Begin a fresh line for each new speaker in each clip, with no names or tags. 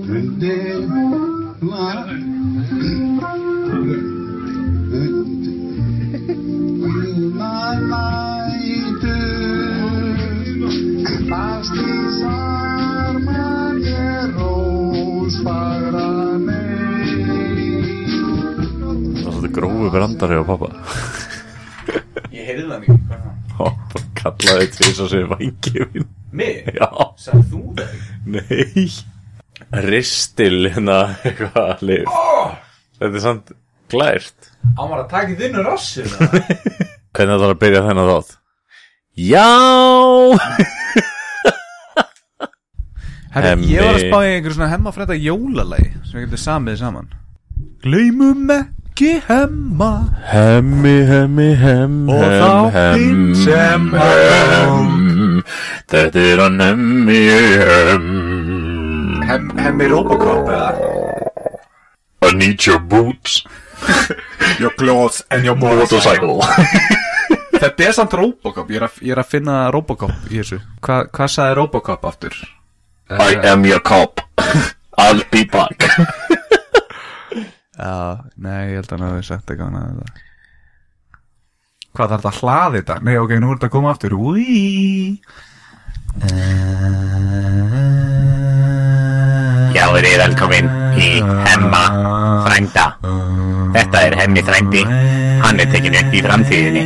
근데 말 My light Pastis armageros para mí
Það er svolítið grófu brandari á pappa
Ég heyrði það mikið, hvað er það?
Pappa kallaði tvis að segja vangifin
Mig?
Já,
Sæð þú það?
nei Ristil hérna eitthvað lif
Oh,
Þetta er samt glært
hann var að taka í þinnu rassin eða?
Hvernig ætlar að byrja þennan þátt? Já
Herri, ég var að
Hemmi.
spá í einhver svona hemmafrænda jólalagi sem við getum samið saman Gleimum ekki hemma
Hemmi, hemmi, hemm,
Og
hemm, hemm
þáttinn sem
hemm Þetta er um. hann hemmi, hemm
Hem, Hemmi Robocop eða?
I need your boots
Your clothes and your
Motorcycle
Þetta er samt Robocop, ég er að, ég er að finna Robocop í þessu Hva, Hvað sagði Robocop aftur?
I am your cop I'll be back
Já, nei, ég held að hann hafi sagt eitthvað annað en það. Hvað þarf þetta að hlaði þetta? Nei, ok, nú er þetta að koma aftur Úí
Já, þið er velkomin í
Eh.
Hemma frænda. Þetta er Hemmi frændi. Hann er tekin upp í framtíðinni.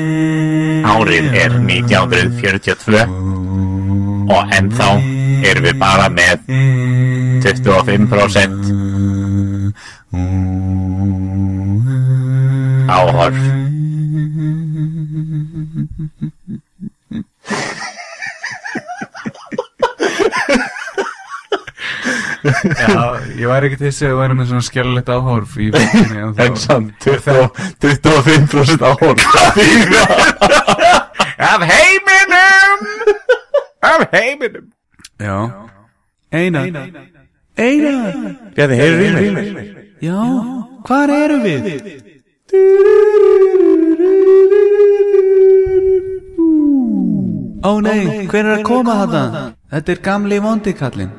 Árið er 1942 og ennþá erum við bara með 25% áhorf.
Já, ég væri ekkert þessi að við væri með svona skjálulegt áhorf í fólkinni en þá-
En samt 20 25% áhorf
Af heiminum Af heiminum Já Einar Einar
Bjarni, heyrðu í mig
Já, hvar erum við? Ó nei, hver er að koma þetta? Þetta er gamli vondikallin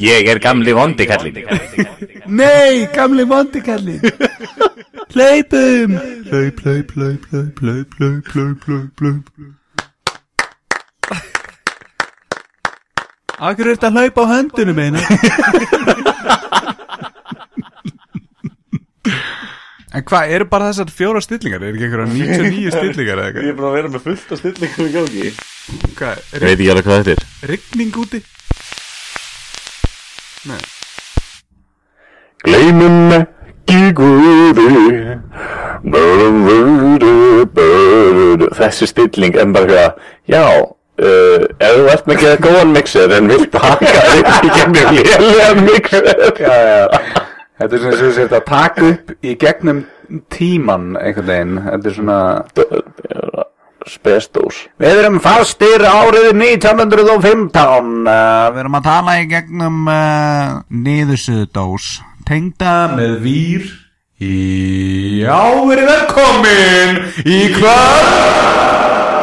Ég er gamli vondi kallin.
Nei, gamli vondikallin Hlaupum
Play, play, play, play, play, play, play, play, play, play
Akkur er þetta að hlaupa á höndunum einu En hvað, eru bara þessar fjóra stillingar? Er ekki einhverja 99 stillingar eða eitthvað?
er bara að vera með fullt af stillingum í gangi
Hvað, er
Veit ekki alveg hvað þetta er
rigning úti? Nei
Gleimum ekki Guði Þessi stilling en bara eitthvað Já, uh, ef þú ert með ekki að góðan mixer en vilt taka þig í gegnum lélega mixer
Já, já, já Þetta er svona sem þú sér þetta að taka upp í gegnum tíman einhvern veginn Þetta er svona
Spestós
Við erum fastir árið 1915. Uh, við erum að tala í gegnum uh, niðursuðdós. Tengda með vír. Í... Já, við erum velkomin í hvað?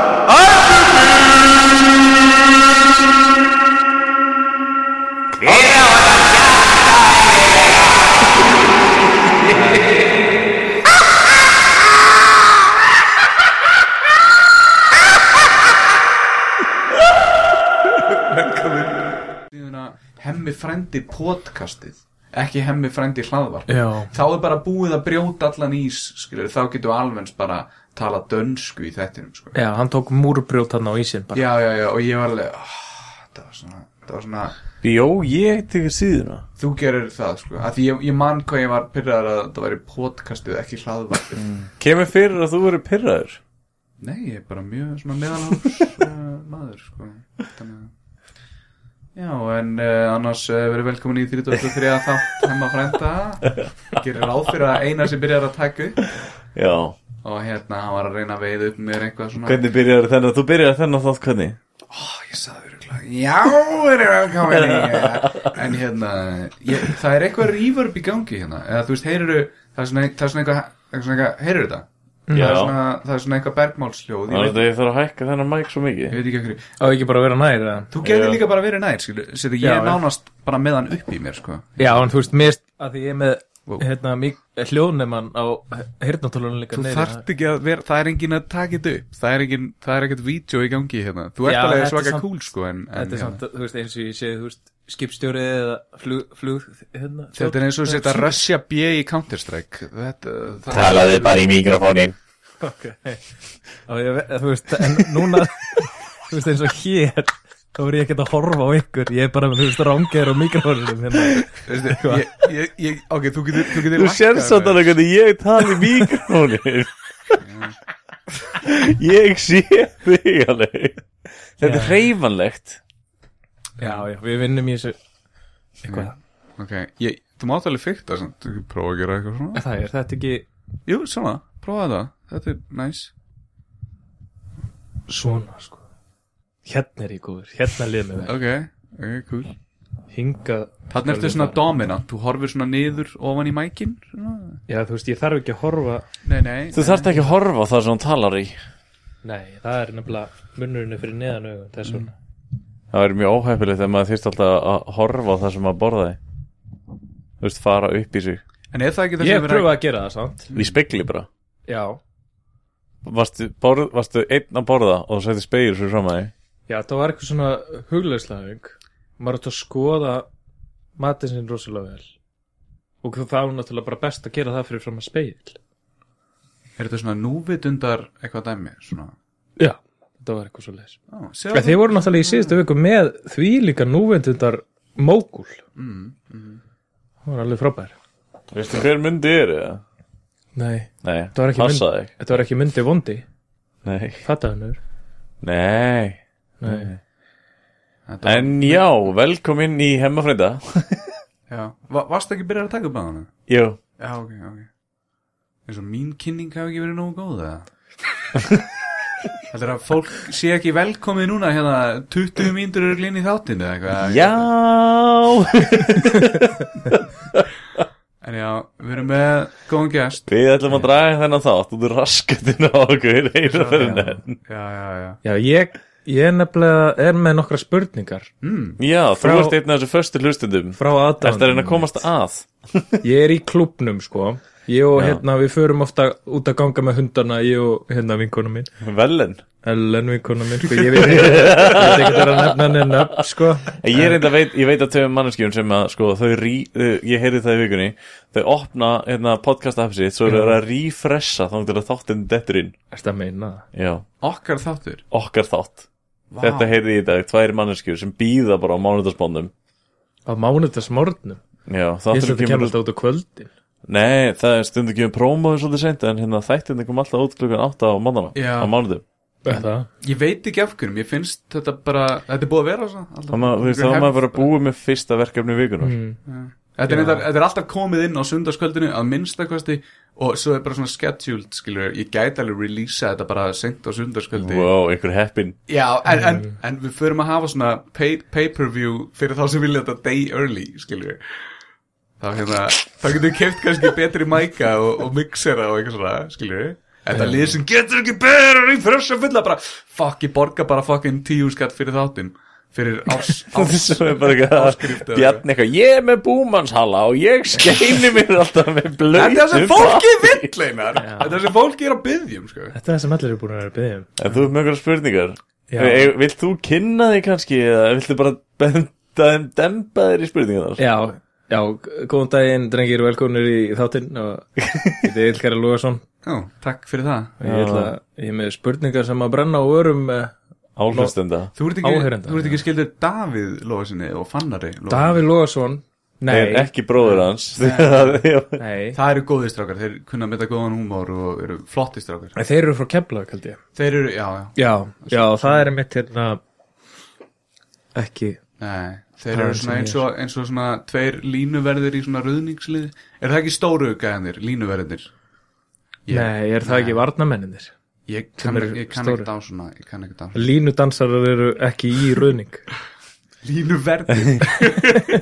Hérna, Hemmi frændi podcastið. Ekki hemmi frændi hlaðvarp. Já. Þá er bara búið að brjóta allan ís, skilur. Þá getur alveg bara tala dönsku í þettinum, sko.
Já, hann tók múrbrjót hann á ísinn bara.
Já, já, já, og ég var alveg, oh, það var svona, það var svona...
Jó, ég tekur síðuna
Þú gerir það sko, að því ég, ég man hvað ég var pyrraðar að það væri podcastið ekki hlaðvarpið.
Kemur fyrir að þú verður pirraður
Nei, ég er bara mjög svona meðaláls uh, maður sko. Þannig að... Já, en uh, annars uh, verið velkomin í 33 þátt hemmafrænda. Gerir ráð fyrir að eina sem byrjar að taka upp.
Já,
og hérna, hann var að reyna að veiða upp mér eitthvað svona
Hvernig byrjar þennan, þú byrjar þennan þátt hvernig?
Ég sagði örugglega, já, er ég velkomin í- En hérna, ég, það er eitthvað reverb í gangi hérna Eða þú veist, heyriru, það er svona, það er svona eitthvað, eitthvað, svona eitthvað heyriru þetta?
Já,
Það er svona, það er svona eitthvað bergmálsljóð
þannig
ég,
að ég þarf að hækka þennan mæk svo
veit-
mikið
ég veit ekki okkur
Á ekki bara að vera nær eða?
Þú gerði
Já.
líka bara verið nær, skilu Seti,
Já,
ég
já.
er nánast bara með hann upp í mér, sko
Já, en þú veist, mist að því ég er með
Wow.
hérna, hljóðnemann á hirtnatólunum líka
Þú
niðri.
þarft ekki að vera, það er engin að taka þetta upp Það er engin, það er ekkert vídeo í gangi hérna Þú ert
Já,
alveg
þetta er
svaka
samt-
cool, sko en, en,
Þetta er
hérna,
samt, þú veist, eins og ég segi, þú veist, skipstjórið eða flug, flug hérna,
Þetta er eins og setja Russia B í Counter-Strike Þetta, það,
Talaðu bara í mikrofónin.
Ok. Á, ég, ve- þú veist, en núna, þú veist, eins og hér, þá er ég ekkert að horfa á ykkur, ég er bara með, þú veist, rángeir og mikrofónum hérna.
veistu, ég, ég, ég, ok, þú getur, þú getur
Þú
lækkað
sér samt
þetta.
alveg hvernig ég tali í mikrofónir Ég sé þig alveg Þetta er hreyfanlegt
Já, já, við vinnum í þessu, eitthvað.
Ok, ég, þú mátt alveg fyrta samt, þú getur prófa að gera eitthvað svona
Það er þetta ekki
Jú, svona, prófa það, þetta er næs
svona, sko. Hérna er ég góður, hérna lið með það.
Ok, ok, cool
Hinga.
Þannig ertu svona dominant, þú horfir svona niður ofan í mækin svona.
Já, þú veist, ég þarf ekki að horfa
Nei, nei
Þú þarft ekki að horfa á það sem hún talar í
Nei, það er nefnilega munnurinu fyrir neðan augun, þess vegna.
Það er mjög óhefnilegt þegar maður þyrst alltaf að horfa á það sem maður borðaði Þú veist, fara upp í sig
En er það ekki það
Ég
sem
hef
við
pröfað að gera það samt.
Í spegli bara
Já.
Varstu, borð, varstu einn að borða og þú setti spegil fyrir fram að
Já, það var eitthvað svona huglegslæðing. Maður átt að skoða matið sinn rosalega vel. Og það var náttúrulega bara best að gera það fyrir fram að speil.
Er þetta svona núvitundar eitthvað dæmi svona
Já. Þetta var eitthvað svo leis.
Ó, sjáðu.
Sko,
Ja, þið voru náttúrulega í síðustu viku með því líka núvendundar mókul. Mm, mm. Það var alveg frábær.
því Veistu hver myndi er eða?
Nei.
Nei,
Þetta var ekki,
passaði ekki
þetta var ekki myndi vondi.
Nei,
Fattaði hennur.
nei
Nei.
Þetta var-
En já, velkomin í hemmafrænda
Já, Va varstu ekki byrjar að taka upp að hana?
Jú,
Já, ok, ok Eins og mín kynning hafi ekki verið nógu góð eða? Þetta er að fólk sé ekki velkomið núna hérna 20 mínútur eru glinn í þáttinu eða eitthvað
já
En já, við erum með góðan gest
Við ætlum að draga þennan þátt og þú raskatinn á okkur einu fyrir nenn
Já, já, já
Já, ég, ég nefnilega er með nokkra spurningar
Já, þú
Frá-
ert einn af þessu förstu hlustundum
frá
Ertu að reyna
aðdáðan.
að komast að
Ég er í klubnum, sko. Ég og
Já.
hérna, við förum ofta út að ganga með hundana, ég og hérna vinkona mín.
Velen
Ellen vinkona mín, sko. Ég veit ekki, ég veit ekki að nefna henni nöfn, sko.
En Ég, reynda, veit, ég veit að tveim manneskjum sem að sko, þau rí, þau, ég heyri það í vikunni þau opna hérna, podcast app sitt svo eru þau að refresha þá til að þáttin dettur inn
Ertu að meina það?
Já,
Okkar þáttur
okkar þátt
Vá.
Þetta heyrði ég í dag, tvær manneskjur sem býða bara á mánudagsbóndum
Á mánudagsmorgnum?
Já,
Ég
þáttur
sem þetta kemur
kemur
alltaf út á kvöldin.
Nei, það er stundu kemur prómóðu svolítið seint en hérna þættin kom alltaf út klukkan 8 á mánana
Já.
á mánudum
Er Það?
Ég veit ekki af hverjum, ég finnst þetta bara Þetta er búið að vera svona alltaf.
Þannig að þú veist, þá er maður bara búið með fyrsta verkefni vikunar
Mm.
þetta, er reyndar, þetta er alltaf komið inn á sundarskvöldinu að minnstakosti og svo er bara svona scheduled skilur, ég gæti alveg releasa þetta bara sent á sundarskvöldi
Wow, einhver heppin
Já, en, en, en við förum að hafa svona pay- pay-per-view fyrir þá sem vilja þetta day early, skilur við. Þá, hérna, þá getum við keft kannski betri mæka og, og mixera og eitthvað svona, skilur við. Þetta lið sem getur ekki betur í frösa fulla bara, fuck, ég borga bara fucking tíu skatt fyrir þáttinn, fyrir árs, árs.
sem er bara eitthvað
Áskrift eða-
Bjarni eitthvað, ég er með búmannshala og ég skeini mér alltaf með blöð um
Þetta er sem fólki vill, einar. Þetta er sem fólki er að byggðjum, sko.
Þetta er það sem allir eru búin að vera að byggja um.
En þú ert með einhverja spurningar
Já.
e, Vilt þú kynna þig kannski eða viltu bara benda þeim dempa þér í spurningarnar
Já, já, góðan daginn, drengir, velkominir í þáttinn og ég er Ilkari Lúgason.
Já, takk fyrir það.
Ég ætla, ég er með spurningar sem að brenna á örum eh,
Álfustenda
Þú ert ekki,
Áheyrenda.
þú ert ekki skildur Davíð Lóðasinni og Fannari Lóðasinni.
Davíð Lóðarsson
Er
Nei,
Eh, ekki bróður hans Já,
nei
Það eru góðir strákar, þeir kunna að mynda góðan húmór og eru flotti strákar.
En Þeir eru frá Keflavík held ég
Þeir eru, já, já,
Já, já, það er mitt hérna Ekki
nei Þeir
Það
eru
er
svona
sem
eins og, eins og svona tveir línuverðir í svona röðningslið Er það ekki stóru gæðanir, línuverðir?
Nei, er það ekki varnamenninir?
Ég
Sem
kann,
eru
ég kann
stórir.
ekkert á svona Ég kann ekkert á svona
Línudansarar eru ekki í röðning
Línu verði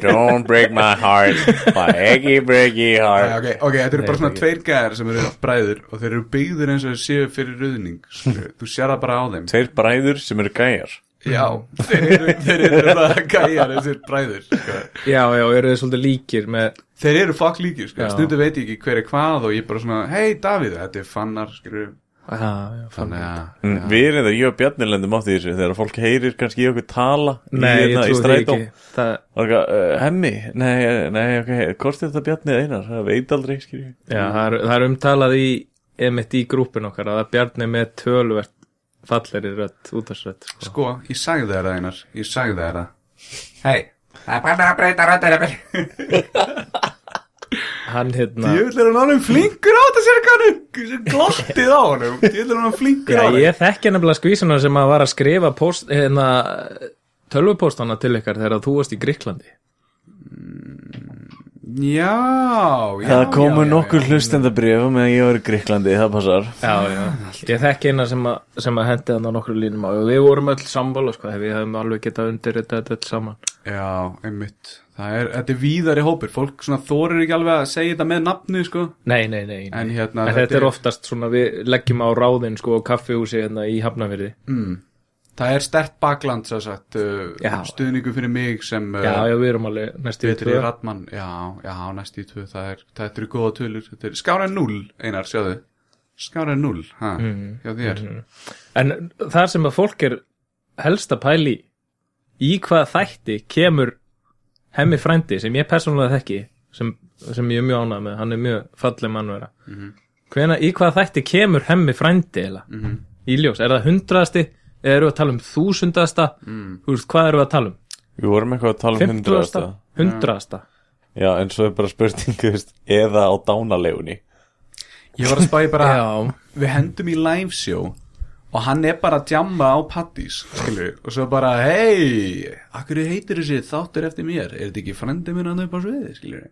Don't break my heart My eggy breaky heart
Ok, ok, þetta eru bara
Nei,
svona
ekki.
tveir gæðar sem eru bræður og þeir eru byggður eins og þeir séu fyrir ruðning Þú sér það bara á þeim
Tveir bræður sem eru gæjar
Já, þeir eru, þeir eru það gæjar þessir bræður sko.
Já, já, eru þið svolítið líkir með
Þeir eru fokk líkir, sko.
Já.
stundu veit ég ekki hver er hvað og ég bara svona, hei Davíð, þetta er fannar skilur,
Já, Ah, já, fannig
þannig að
Mm, Við erum það, ég og Bjarni lendum átt í þessu Þegar fólk heyrir kannski í okkur tala í
Nei,
hérna
ég
í
trúi því
strætó.
ekki Það,
Og eitthvað, uh, hemmi, nei, eh, nei, ok, hvort er þetta Bjarni eða Einar, það veit aldrei, skiljum.
já, það, er, það er umtalað í emitt í grúpin okkar að það Bjarni er með töluvert falleri rödd, útarsrödd sko.
Sko, ég sagði þér það einar, ég sagði þér það
Hann hérna
Ég vil vera náttúrulega flinkur á þetta sér kannu glottið á honum, ég vil vera náttúrulega flinkur
Já,
á
ég þekki nefnilega skvísuna sem að var að skrifa post, hérna, tölvupóstana til ykkar þegar þú varst í Gríklandi
þetta Já, já,
Það komu
já, já,
nokkur hlustendabrjöf meðan ég var í Gríklandi, það passar.
Já, já, ég þekki eina sem að, sem að hendi hann á nokkru línum á og við vorum öll sammála, sko, ef við hefum alveg getað undir þetta öll saman
Já, einmitt Það er, þetta er víðari hópur Fólk svona þorir ekki alveg að segja þetta með nafni sko.
Nei, nei, nei, nei.
En hérna,
en þetta, er oftast svona við leggjum á ráðin sko á kaffihúsi hérna í Hafnafyrði
mm, Það er stert bakland svo sagt, uh,
Já.
Stuðningu fyrir mig sem uh,
Já, já, við erum alveg næstu í
Petri
tvö
Radmann Já, já, næst í tvö Það er, það eru góða tölur Þetta er Skára 0, Einar, sjáðu Skára 0, ha,
Mhm.
hjá þér
En það sem að fólk er helst að pæli í hvaða þætti kemur hemmi frændi sem ég persónulega þekki sem, sem ég er mjög ánað með, hann er mjög falleg mannvera mm í hvaða þætti kemur hemmi frændi eða
Mhm.
í ljós, er það hundraðasti eða eru að tala um þúsundasta
Mhm.
þú veist, hvað eru að tala um?
Við vorum eitthvað að tala um hundraðasta.
Fimmtugasta? Hundraðasta?
Já, en svo er bara spurning, þú veist, eða á dánalegunni.
Ég var að spæja bara
Já,
við hendum í live show og hann er bara að djamma á pattís skilur, og svo bara hei, akkur heitir þessi þáttur eftir mér er þetta ekki frendi minn hann upp á sviði skilur.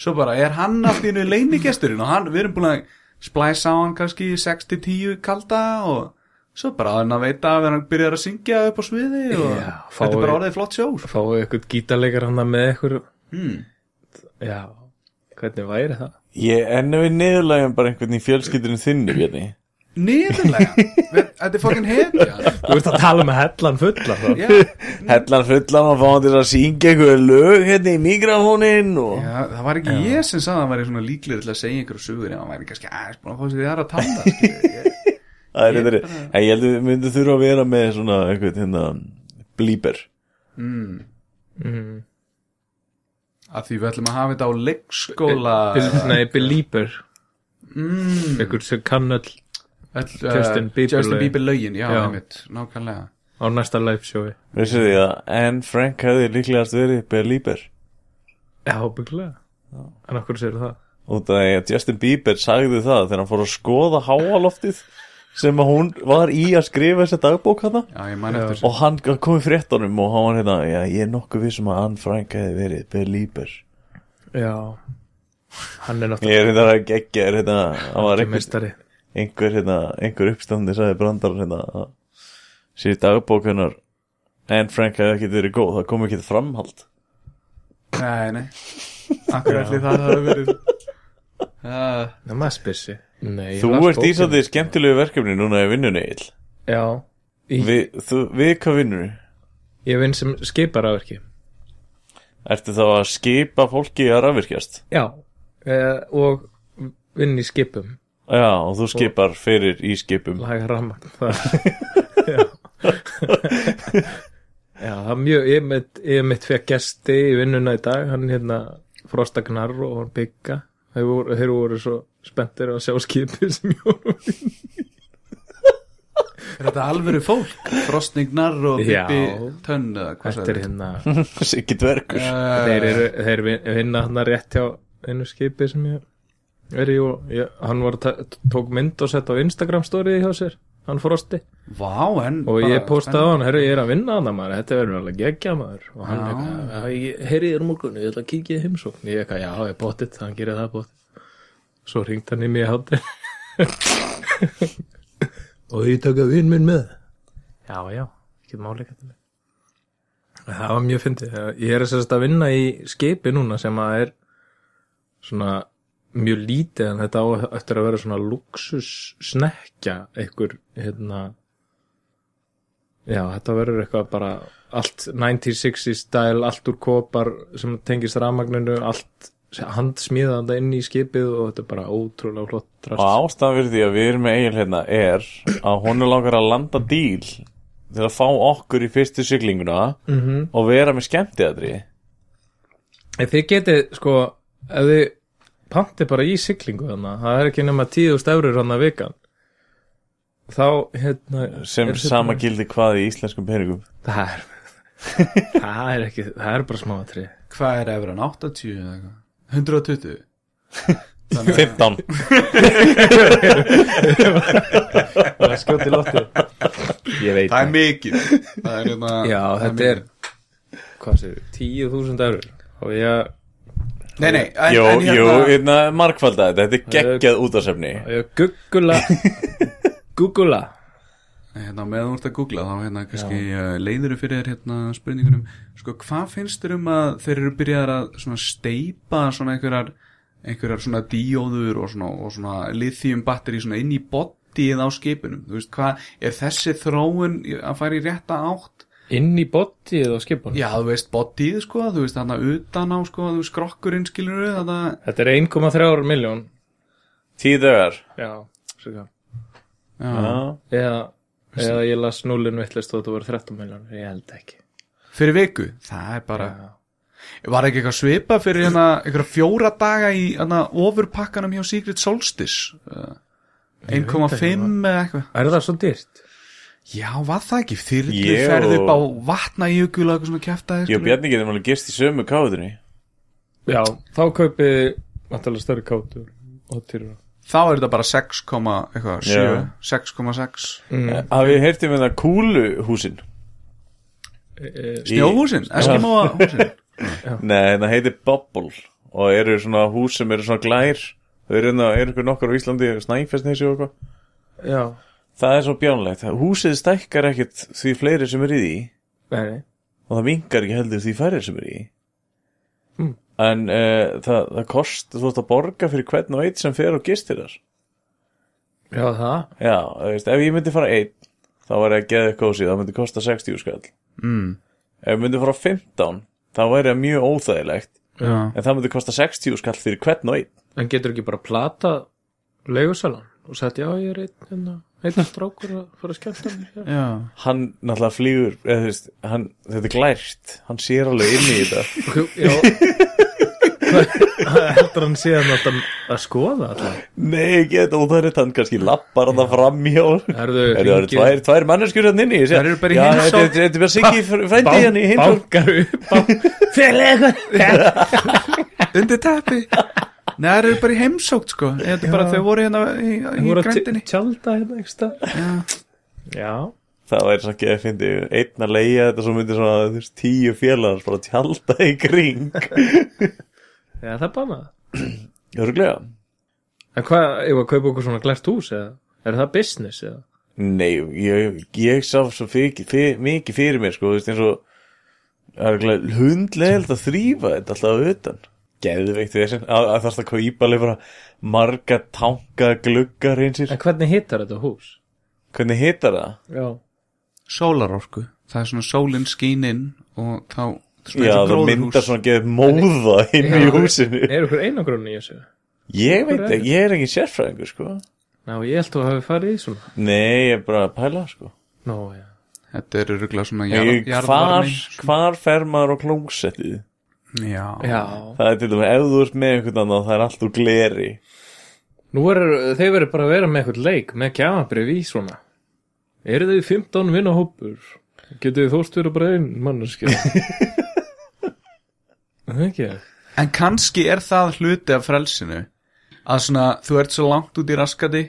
svo bara er hann allt í einu leinigesturinn og hann, við erum búin að splæsa á hann kannski 6-10 kalda og svo bara að hann að veita að hann byrjar að syngja upp á sviði og
Já,
þetta er bara
fái-
orðið flott sjó sko.
fáið eitthvað gítarleikar hann með eitthvað
hmm.
já, hvernig væri það?
Ég ennum við niðurlægum bara einhvern í fjölskyldurinn þinni, Bjarni.
niðurlega, Við- þetta er fokkin hefja
Þú ert að tala með hellan fulla þá
já
Hellan fullan og fáum þér að syngja eitthvað lög hérna í mikrofónin og...
Já, það var ekki ég sem sagði að hann væri svona líklegur til að segja einhverju sögur en hann væri kannski aðeins búin að fá sér því aðra að tala skilur við.
Það er þetta, en ég held að við myndum þurfa að vera með svona einhvern, hérna, blíber.
mm,
mm.
að því við ætlum að hafa þetta á leikskóla
Bil- Nei, Belieber,
mm,
ykkur sem kann öll
öll, uh,
Justin Bieber
Justin
lögin.
Bieber lögin, já,
Já.
einmitt, nákvæmlega
á næsta liveshowi
Vissu því að Anne Frank hefði líklegast verið Belieber
Já, bygglega En okkur sér það
út af því að Justin Bieber sagði það þegar hann fór að skoða háaloftið sem að hún var í að skrifa þessa dagbók hana
Já, ég man eftir
og hann kom í fréttunum og hann var hérna já, ég er nokkuð vissum að Anne Frank hefði verið Belieber
Já, hann er
ég
náttúrulega
er hérna að gegja er hérna hann var einhver,
meistari
einhver, hérna, einhver uppstandi sagði brandar hérna að sér dagbók hennar Anne Frank hefði ekki verið góð það kom ekki framhald
Nei, nei, akkur ætli það hafa verið uh,
Nei, maður spyrsi Nei, ég
þú
las
ert í
bókina.
svolítið skemmtilegu verkefni núna í vinnunni Egill.
Já, Í-
við, þú- við hvað vinnur
ég vinn sem skipar af ekki
Ertu þá að skipa fólki að rafvirkjast?
Já, eh, og vinn í skipum
Já, og þú skipar fyrir í skipum
laga ramagn það já. já, það er mjög ég er mitt, ég er mitt fyrir gesti í vinnuna í dag, hann hérna Frostagnar og hann Bigga þeir voru, þeir voru svo spenntir að sjá skipið sem ég voru í.
Er þetta alvöru fólk? Frostningnar og
Já.
Bibi Tönn eða hvað
þetta er
sagði Eh,
hérna
Siggi dvergur
þeir,
Þeir
eru, þeir vin- vinna hann rétt hjá einu skipi sem ég er í og ég, hann var, að ta- tók mynd og sett á Instagram story hjá sér hann Frosti
Vá, en
og ég
bara-
postaði á hann, herru ég er að vinna hann maður, þetta verður alveg geggja maður og
Já.
hann eitthvað, "Já, herri ég er morgun ég ætla að kíkja í heimsókn, ég eitthvað, já ég bóttið hann gerir það bóttið svo ringt hann í mig í hátir
og ég taka vinn minn með
Já, já, ekki máli kættu Það var mjög fyndið Ég er sérst að vinna í skipi núna sem að er svona mjög lítið en þetta á eftir að vera svona luxus snekja einhver hérna Já, þetta verður eitthvað bara allt 1960 stæl, allt úr kopar sem tengist rafmagninu, allt handsmíðanda inn í skipið og þetta er bara ótrúlega flott
Og
drast.
ástæðan fyrir því að við erum með Egil hérna er að hún er langar að landa díl til að fá okkur í fyrstu siglinguna
Mhm.
-hmm. og vera með skemmtiðatri.
Ef þið getið, sko, ef þið pantið bara í siglingu þannig, það er ekki nema tíðu stefrur hann að vikan, þá, hérna,
sem
er þetta-
sama gildi hvað í íslenskum peningum
Það er, það er ekki, það er bara smáatrið.
Hvað er efran? 80 eða eitthvað? 120?
15
Það er skjótt í lottið.
ég veit
Það er mikið Það er hérna
Já,
það
þetta er,
mikið.
hvað segir, tíu þúsund efrur. Og ég,
Nei, nei en,
Jú,
en,
jú, hérna markvalda þetta Þetta er geggjað útarsefni
og ég googla, googla.
Hérna, meðan þú ert að googla þá hérna kannski uh, leiðiru fyrir þér hérna spurningunum sko, hvað finnst þér um að þeir eru byrjaðar að svona steipa svona einhverjar, einhverjar svona díóður og svona, og svona lithium batteri svona inn í bodyið á skipunum þú veist hvað, er þessi þróun í- að fara í rétta átt
Inn í bottið og skipunum.
já, þú veist bodyið sko, þú veist þarna utan á sko, þú veist skrokkurinn skilur þarna,
Þetta er 1,3 miljón.
Tíu dögar
Já, svo hvað.
já.
Eða, eða ég las núlinn vittlist og þetta voru 13 miljón, ég held ekki.
fyrir viku, það er bara Var ekki eitthvað svipa fyrir hérna eitthvað fjóra daga í hérna ofurpakkanum hjá Secret Solstice uh, 1,5 eða eitthvað
Er það svo dýrt?
Já, var það ekki?
Ég
Þyrlu ferði
og-
upp á vatnajökul og eitthvað svona kjæftaði
Ég og Bjarni getum alveg gist í sömu káðunni
Já, þá kaupið náttúrulega störri kátur og týrur.
Þá er þetta bara 6, eitthvað, 7
Já.
6,6
Hafið við heyrtið með það hérna kúluhúsin
Snjóhúsin, Eskimoa húsin
Nei, það heitir Bubble Og eru svona hús sem eru svona glær Þau eru hérna, eru ykkur nokkar á Íslandi Snæfessnesi og eitthvað
Já.
Það er svo bjánlegt Húsið stækkar ekkert því fleiri sem eru í því
Nei, nei.
og það vingar ekki heldur því færið sem er í
Mm.
en uh, það, það kost þú ert að borga fyrir hvern og eitt sem fer og gistir þar
Já, það.
já, þú veist, ef ég myndi fara einn þá var ég að geða kósi, það myndi kosta 60 skall
mm.
ef ég myndi fara 15 þá væri það mjög óþægilegt
Já.
en það myndi kosta 60 skall fyrir hvern og einn
En getur ekki bara plata leigusalan og sagt, já, ég er einn, hérna, einn strákur að fara að skemmta mér.
Já.
hann náttúrulega flýgur eða, þú veist, hann, þetta er glært hann sér alveg inn í þetta
Já. já. Hvað heldur hann síðan að, að skoða alltaf?
nei, ekki þetta óþægilegt, hann kannski lappar hann fram hjá
Herðu,
Er það eru tvær, tvær manneskjur hann inni
Þær eru bara í heimsókn.
heimsók Þetta þetta er bara Siggi frændi hann í heimsók
Bankar upp á félagi eitthvað.
Undir teppi Nei, það eru bara í heimsókt sko Þetta er bara þau voru hérna í, í
Þú voru að
grændinni
t- tjálta hérna ekki stað. Já.
Það væri svo ekki að fyndi einn að leiða þetta svo myndi svona þú veist, tíu félagar bara tjálta í kring
Já, það er bannað.
Jörglega
En hvað, ef að kaupa okkur svona glært hús eða? Er það business eða?
Nei, ég, ég sá svo fyr, fyr, mikið fyrir mér sko, þú veist, eins og það er hundlegilegt að þrýfa þetta alltaf að utan Geðveikt þessin, að, að þarst að kaupa alveg bara marga tanka gluggar einsir
En hvernig hittar þetta hús?
Hvernig hitar það?
Já.
Sólarorku Það er svona sólinn skín inn og þá
Já,
svona eins og
það
gróðurhús.
myndar svona geðið móða inn í húsinu
Er okkur einangrunni í þessu?
Ég veit
Hver er
ekki, ég er ekki sérfræðingur sko
Ná, ég held að hafa farið í svona.
Nei, ég er bara að pæla sko
Nó, já.
Þetta eru ruggla svona
ég, hvar, hvar fer maður á klósettið?
Já.
Já.
Það er til dæmis, ef þú ert með einhvern annan það er allt úr gleri
Nú er, þeir verið bara að vera með eitthvað leik, með kjafabrif í svona. Eru þau 15 vinnahópur? Getur þið þóst verið bara einn manneskja? Það ekki?
En kannski er það hluti af frelsinu að svona þú ert svo langt út í raskati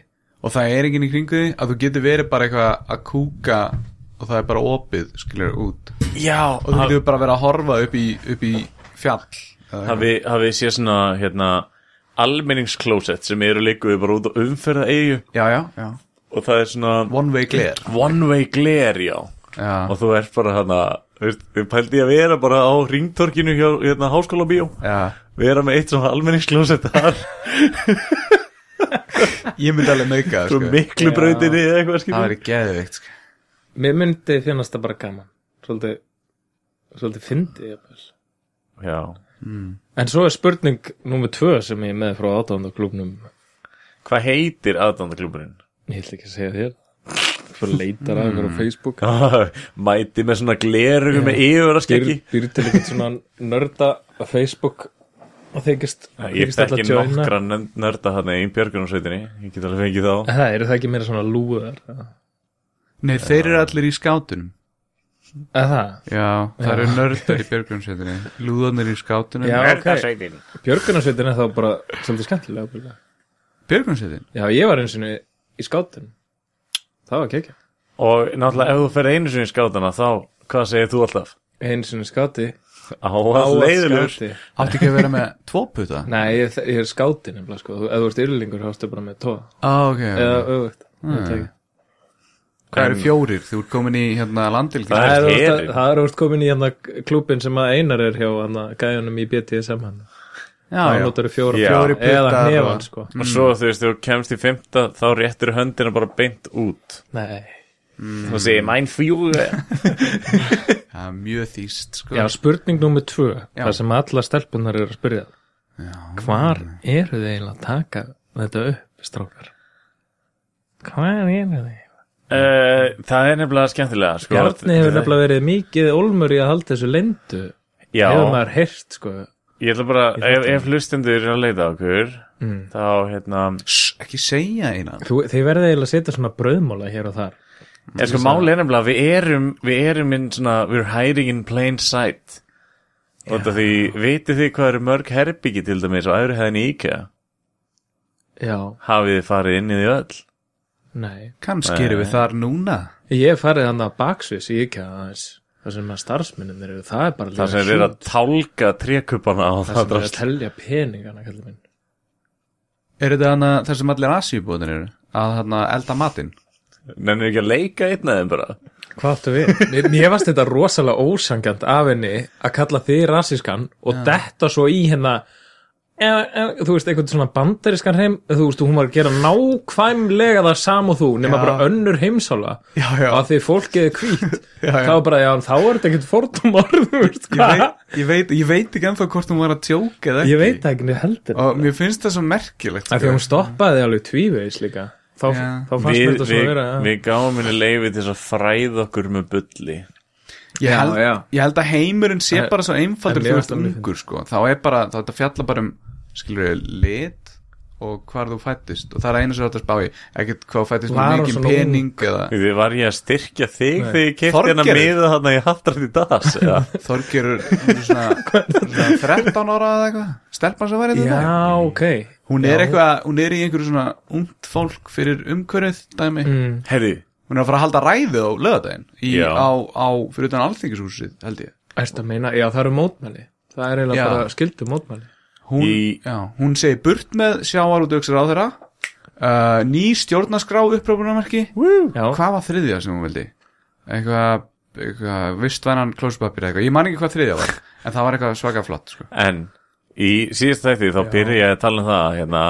og það er enginn í kringu því að þú getur verið bara eitthvað að kúka og það er bara opið skilur út
Já,
og þú getur bara verið að horfa upp í, upp í fjall eða
hafi, hafi sé svona hérna almenningsklósett sem eru líkuð bara út á umferða eigu
Já, já, já
og það er svona
One way clear
one way glare, já
Já,
og þú ert bara hana veist, við pældi ég að vera bara á ringtorkinu hjá hérna, háskóla bíó
já
vera með eitt svona almenningsklósett þar
Ég myndi alveg meika það,
svo
sko.
miklu brautinni eða eitthvað
Það
skilur
væri geðvikt sko.
Mér myndi finnast það bara gaman Svolítið Svolítið fyndi jafnvel.
já
En svo er spurning nummer tvö sem ég er með frá átáðandaklubnum
hvað heitir aðdandaklúburinn?
Ég held ekki að segja þér Svo leitar að ykkur á Facebook
mæti með svona gleru með yfir að
Býr,
skeggi
býr til eitthvað svona nörda á Facebook og þykist
ég
þykist alla
þekki
joina.
nokkra nörd- nörda þarna í björgunarsveitinni ég get alveg fengið þá
Það eru það ekki meira svona lúðar
Nei, þeir eru allir í skátunum
Eða það?
Já, það eru nördar í björgunsveitinni Lúðanir í skátunum
Já, ok
Erðarsveitin.
Björgunarsveitin er þá bara svolítið skemmtilega ábyggilega.
Björgunsveitin?
Já, ég var eins og í skátunum Það var kekja
og náttúrulega ef þú ferð einu sinni í skátana þá hvað segir þú alltaf?
Eins og í skáti
á að leiðilegur
skáti.
Átti ekki að vera með tvo puta?
Nei, ég, ég er skáti nefnilega sko Þú- Ef þú ert yrlingur, þá ertu bara með tóa
Á, Ah, ok
Mm.
Eða öfugt
Mm.
Ég veit það ekki.
Hvað eru fjórir? Þú ert komin í hérna landil
Það
Það
er
er úrst-
herinn.
það er úrst komin í hérna klúbin sem að Einar er hjá hann gæjanum í BTSM hann
Já,
Það
já
notar fjóra
Já.
fjóri eða
puttar
hnefann
og-
sko
og svo þú veist, þegar þú kemst í fymta þá réttir höndina bara beint út Eh,
Nei
þú segir mæn fjúga
Það er mjög þýst, sko
Já, spurning nummer tvö,
Já.
það sem alla stelpunar eru að spyrja Hvar eru þið eiginlega að taka þetta upp, strákar? Hvar eru þið?
uh, það er nefnilega skemmtilega sko.
Bjarni hefur nefnilega verið mikið olmur í að halda þessu lendu
Já,
hefur maður heyrt, sko
ég ætla bara,
Ég Mm. þekki
ef, ef hlustendur er að leita okkur þá hérna
Shh, ekki segja einan
Þú, Þið verðið eiginlega að setja svona brauðmóla hér og þar
er sko máli er nefnilega, við erum við erum inn svona, we're hiding in plain sight og þetta því vitið þið hvað eru mörg herbyggi til dæmis og aðri hefðin í IKEA
Já,
hafið þið farið inn í því öll
nei
Kannski eru við þar núna
Ég hef farið hann að baksvis í ekki aðeins Það sem að starfsmennir eru, það er bara
það sem er verið að tálka trékupana á
Það
það
sem er að
drast
telja peningana, kallar minn
Er þetta hana þar sem allir asjubúðin eru? Að hérna elda matinn?
nennir ekki að leika einn af þeim bara
Hvað áttu við? Mér- Mér varst þetta rosalega ósangjant af henni að kalla þig rasískan og detta svo í hérna e, e, þú veist, einhvern svona bandarískan heim þú veist, hún var að gera nákvæmlega það sam og þú, nema bara önnur heimsála
Já, já.
og að því fólkið er hvít
Já, já.
þá er bara, já, en þá er þetta ekkert fordómar þú veist,
Ég
hvað?
veit, ég, veit, ég veit ekki ennþá hvort hún var að tjóka eða ekki
Ég veit það ekki, mér heldur
Og mér finnst það svo merkilegt
að því að hún stoppaði alveg tvívegis líka þá,
Já.
þá fannst mér
við,
þetta svo
við,
vera já.
við gáum henni leiði til þess að fræða okkur með bulli
ég,
Já,
held,
já.
ég held að heimurinn sé
En-
bara svo einfaldur þú
en mér
ert
finnst það mjög
ungur sko. þá er bara, þá þetta fjalla bara um skilur við, lit og hvar þú fættist og það er einu sem þetta spá í ekkert hvað þú fættist
Var
með
hún
mikið
svona
pening eða
Við var ég að styrkja þig þegar ég kefti hennar
Þorgerður.
miða hann að ég hattar því das eða?
Þorgerur hún er svona, svona 13 ára eða eitthvað stelpan sem var í
já,
þetta
ok
hún er eitthvað, hún er í einhverju svona ungt fólk fyrir umhverfið dæmi
mm.
Herri,
hún er að fara að halda ræðu á lögadaginn í,
Já.
á, á, fyrir utan alþingishúsið held ég
Erstu að meina, já það eru mótmæli Það er eiginlega
Já.
bara skildu mótmæli
hún,
Í-
já, hún segir burt með sjávarútvöksir á þeirra uh, ný stjórnaskrá upprópunarmerki
Já,
hvað var þriðja sem hún vildi eitthvað, eitthvað vistvænan klóspapir eitthvað, ég man ekki hvað þriðja var en það var eitthvað svaka flott sko.
en í síðast þætti þá byrja ég að tala um það hérna,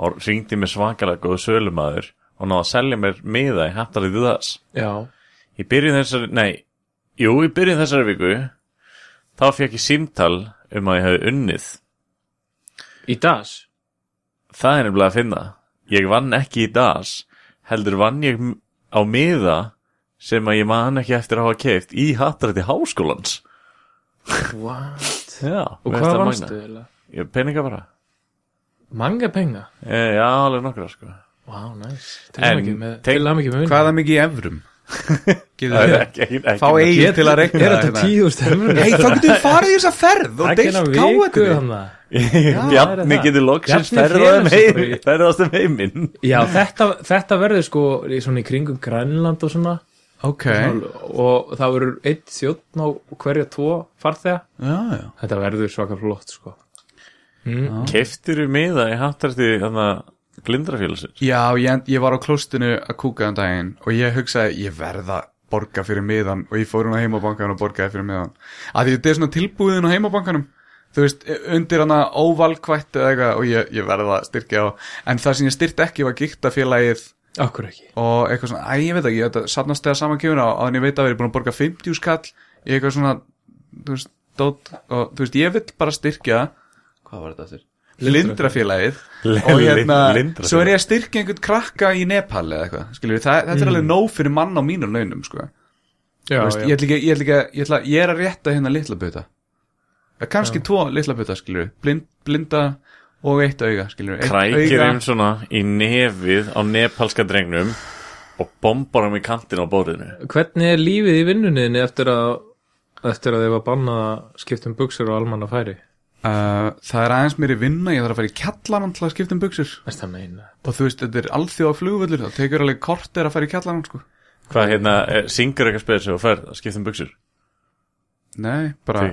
og ringdi mér svakalega góð sölumæður og náða að selja mér miða í hattar því das
já,
Ég byrjuð þessari, nei, jú, ég byrjuð þessari viku þá fekk ég símtal um að ég hefði unnið
í das
Það er nefnilega að finna. Ég vann ekki í DAS, heldur vann ég m- á miða sem að ég man ekki eftir að hafa keift í hattarætti háskólans.
What?
Já, mér finnst
Og hvað
það
vannstu
magnað.
eiginlega?
Ég peninga bara.
Manga penga?
E, já, alveg nokkra sko.
Vá, wow, nice Til
En
hann ekki með,
teng-
til hann ekki með
hvað er það mikið í evrum Getur
Það
þið-
er ekki, ekki, ekki.
fá eigin til að hérna?
Er
regna
þetta tíu úr hérna stemur?
Hei, þá getur við farið í þessa ferð og deilt káetu
hann
Bjarni
það.
getur loksins
Bjarni
ferðaðum
felur sig bara
heim,
í-
ferðaðast um heiminn.
Já, þetta, þetta verður sko í svona í kringum Grænland og svona
ok,
og það verður einn þjóttn á hverja tvo farþega
já, já
Þetta verður svaka flott sko
Keftir við miða í hattarti þarna blindrafélagsins
Já, ég, ég var á klóstinu að kúka um daginn og ég hugsaði, ég verða borga fyrir miðan og ég fór hún á heimabankanum og borgaði fyrir miðan. Að því þetta er svona tilbúðin á heimabankanum, þú veist, e, undir hana óvalkvætt eða eitthvað og ég, ég verða að styrkja á, en það sem ég styrkti ekki var gíktafélagið
Akkur ekki
og eitthvað svona, æ, ég veit ekki, þetta sapnast þegar saman kemur á, á en ég veit að við erum búin að borga 50 skall í eitthvað svona, þú veist, dót, og þú veist, ég vil bara styrkja, hvað var þetta þér? Lindrafélagið og hérna,
Lindrafélagið.
svo er ég að styrkja einhvern krakka í Nepal eða eitthvað, skiljum við, það, þetta er alveg nóg fyrir mann á mínu launum, sko
Mm. já,
Þú veist, ég, ætla ekki, ég, ætla ekki, að- ég, ætla, ég er að rétta hérna litla buta Eh, kannski tvo litla buta, skiljum við, blind, blinda og eitt auga, skiljum við, eitt
Krækir einn svona í nefið á nepalska drengnum og bombar hann í kantin á bóriðinu
Hvernig er lífið í vinnunniðinni eftir að eftir að þið var bannað að skipta um buksur og almanna færi?
Uh, það er aðeins mér í vinna, ég þarf að fara í kjallarann til að skipta um buksur
Veist það meina?
og þú veist, þetta er alþjóða flugvöllur það tekur alveg kort er að fara í kjallarann sko.
Hvað hérna, eh, syngur eitthvað spes og ferð að skipta um buksur
nei, bara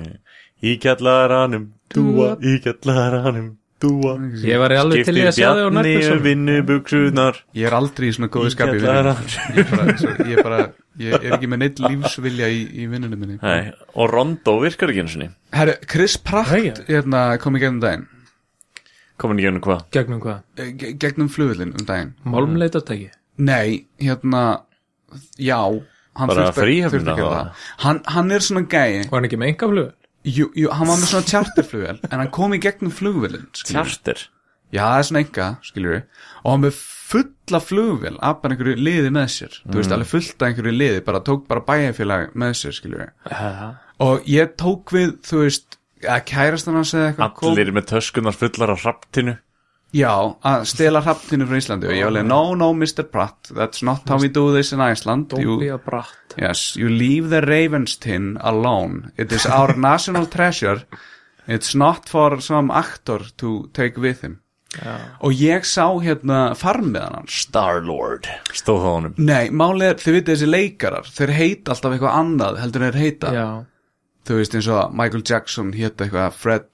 Í kjallaranum, dúa, í kjallaranum, dúa
Ég var alveg til í að sjá þig á
Skipti
nærbuksum
vinnu buksunar
ég er aldrei í svona góðu skapi í vinnunni.
Nei,
ég, bara, svo, ég, bara, ég er ekki með neitt lífsvilja í, í vinnunum minni
og Rondo virkar ekki eins og ný
Herru, Chris Pratt
Jæja.
hérna, kom í gegnum daginn
Komin í gegnum hvað
Gegnum hvað?
Eh, ge- gegnum flugvöllin um daginn
Málmleitartæki?
nei, hérna já, hann
Bara
þurfti
fríhöfnina
þurfti að gera
þá.
það hann, hann er svona gæi
Var hann ekki með engaflug?
jú, jú, hann var með svona tjartirflugvel en hann kom í gegnum flugvöllin skilurðu.
Tjartir
Já, það er svona enga, skiljur við Og hann með fulla flugvél Abban einhverju liði með sér Þú
Mm.
veist, alveg fullt af einhverju liði Bara tók bara bæjarfélag með sér, skiljur við Og ég tók við, þú veist Að kærast hann að segja eitthvað kom-
Allir með töskunar fullar á raptinu
Já, að stela hraptinu frá Íslandi Og ég var alveg, no, no, Mr. Pratt That's not how we do this in Iceland
Don't
you,
be a brat
Yes, you leave the raven's tin alone It is our national treasure It's not for some actor to take with him Og ég sá hérna farmiðan hans
Star-Lord Stóð á honum
Nei, málið er, þið vitið þessi leikarar Þeir heita alltaf eitthvað annað heldur en þeir heita
Já,
Þú veist eins og Michael Jackson hétt eitthvað Fred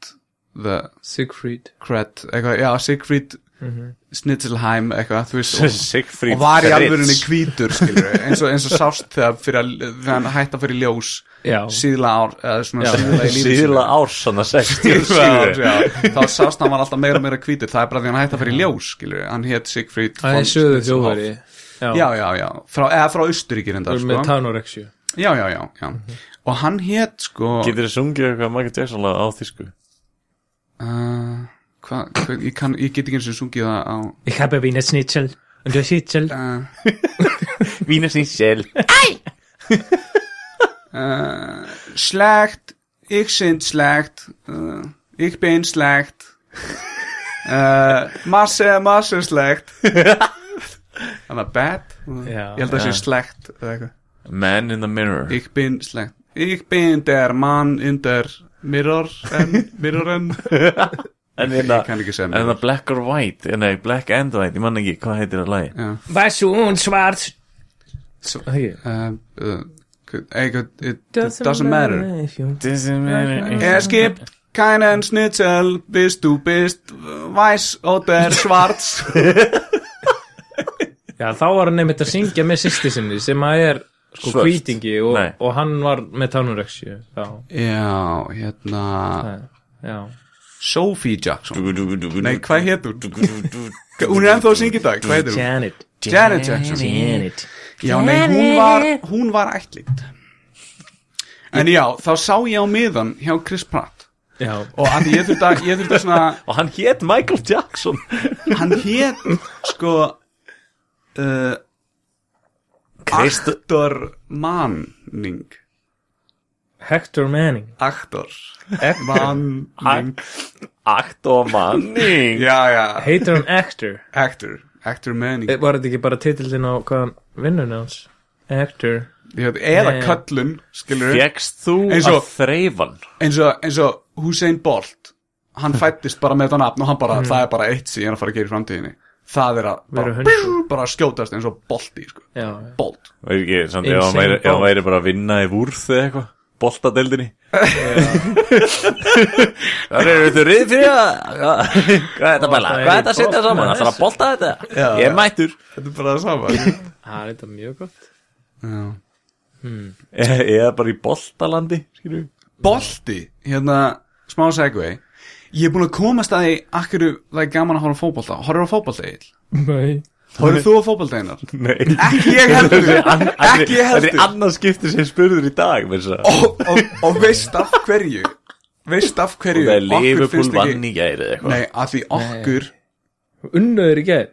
the
Siegfried
Cred eitthvað, Já, Siegfried Snitzelheim eitthvað, þú veist og-
Sigfríð
Og var í alvörunni hvítur, skilur við eins og, eins og sást þegar, fyrir að, þegar hann hætti að fyrir ljós
Já,
síðla ár eða svona síðla í lífi sínu.
Síðla ársana 60
Síðla ár, já. þá sást hann var alltaf meira og meira hvítur það er bara því hann hætti að fyrir ljós, skilur við hann hétt Siegfried
það
von
er söðu
Snitzelhoff.
þjóðveri
Já, sko. já, já, frá, eða frá Austuríkir enda,
Þú er með Mhm. Tanorexju
Já, já, já, já. Og hann hétt sko
Getur þið sungið eitthvað Michael Jackson lag á þýsku
uh, hva, hva, ég, kann, ég get ekki eins og sungið það á
Ég hefði vína snitsel Und du sitsel
uh,
Vínir sín sjel
Slegt Ég sind slegt uh, Ég bin slegt uh, Masse, masse slegt Þannig að bad
Já,
Ég held að það
já.
sé slegt eða eitthvað.
Man in the Mirror
Ég bin slegt Ég bin der mann in der mirror en, mirroren
En hérna
Ég kann ekki segja
En það
mirror
Black or White eh, Nei, Black and White Ég man ekki hvað heitir það lagi
Væsu hún svart
uh, uh, eitthvað, It doesn't matter
Doesn't matter
Es gibt keinen Schnitzel, bis du bist weiß oder schwarz.
Já, þá var hann einmitt að syngja með sýsti sinni sem að er sko
Svört.
hvítingi og,
Nei.
og hann var með Tanorexju Já,
Já, hérna...
já
Sophie Jackson. Nei,
Nei,
hvað hétt hún? Hún er ennþá að syngja í dag, hvað heitir hún?
Janet
Janet Jackson.
Janet
Já, nei, hún var, hún var ætlind. En já, þá sá ég á miðan hjá Chris Pratt.
Já,
Og að því ég þurfti að, ég þurfti að svona...
Og hann hétt Michael Jackson
hann hét sko uh,
Krist-
Aktor Manning
Hector Manning
Aktor Manning
Akt og manning
Já, já,
Heitir hann Actor?
Actor Actor Manning
Eh, Var þetta ekki bara titillin á hvaðan vinnun hans? Actor
Ég veit, Eða
Nei.
köllun, skilur við
Fjekkst þú
Eins
að
og-
þreifan
eins, og- eins og Hussein Bolt Hann fættist bara með þetta nafn og hann
Mm.
bara Það er bara eitt sem ég er að fara að gera í framtíðinni Það er að
Vera
bara,
hundur.
bjú, bara skjótast eins og bolti sko.
Já, já
Bolt
Veit ekki, samt ef hann
Insane
væri- ef hann
Bolt.
væri bara að vinna í vúrð eða eitthvað boltadeldinni Það eru þau rið fyrir það Hvað er þetta bæla? Hvað er þetta að setja saman? Það er að bolta þetta Ég er mættur
Þetta er bara það sama
Það er þetta mjög gott
Já.
Ég ég er bara í boltalandi skilur við.
Bolti, hérna, smá segvei Ég er búin að komast að því Akkur það er gaman að horfa á fótbolta Horfir á fótbolta eil?
Nei
Horfir þú á fótbolta einar?
Nei
Ekki ég heldur Ekki ég
Þetta er
heldur
annað skipti sem spurður í dag meira að segja.
og, og, og veist af hverju Veist af
Og
hverju
það er
okkur
Liverpool
finnst ekki-
vann í gæri eða eitthvað
Nei, að því okkur
Unnaður í gær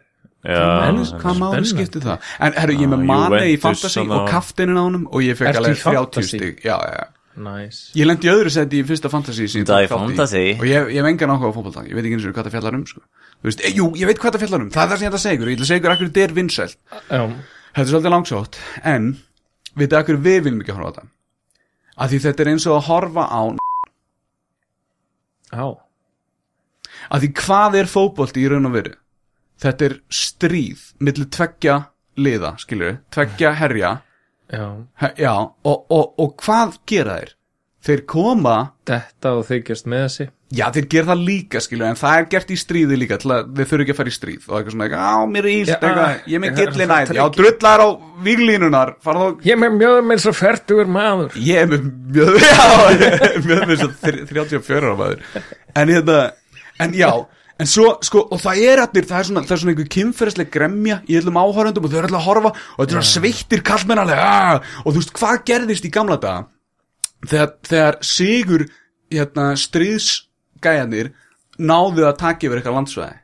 Já,
En-
það er
Hvað máli
spennandi.
skipti það? En herru, ég er með
Ah,
mani í
Juventus
fantasy
þarna.
og kaftinin á honum og ég fekk
Ertu
alveg
í
30
fantasy?
stig Já, já, já
Nice
Ég lendi í öðru seti í fyrsta fantasy sem ég
Það er
tók þátt í.
fantasy.
Og ég, ég hef engan áhuga á fótbolta Ég veit ekki eins og hvað það fjallar um sko. Þú veist, e, Jú, ég veit hvað það fjallar um Það er það sem ég ætla að segja ykkur Ég ætla að segja ykkur akkur þetta er vinsælt
Já
Þetta er svolítið langsótt En Vitið akkur við viljum ekki horfa á þetta Af því þetta er eins og að horfa á
Já
Af því hvað er fótbolti í raun og veru Þetta er stríð Millir tveggja liða, skilur við Tveggja herja
Já
he, Já, og, og, og hvað gera þeir? Þeir koma
Detta og þykjast með þessi
Já, þeir gera það líka, skilju, en það er gert í stríði líka til að þeir þurfi ekki að fara í stríð og eitthvað svona, eitthvað, á, mér er ílt,
Já, ah,
eitthvað, ég er
það-
með
það-
gillin
það-
æð, já, drullar á víglínunar, fara þá,
Ég með mjög með svo ferdugur maður
ég er með mjög, já, mjög með svo 34 ára maður, en hérna, en já, en svo, sko, og það er allir, það er svona, það er svona einhver kynferðisleg gremja í öllum áhörundum og þau eru allir að horfa og þetta er svona sveittir kallmennalega, og þú veist, hvað gerðist í gamla daga? þegar, þegar sigur hérna, stríðsgæjanir náðu að taka yfir eitthvað landsvæði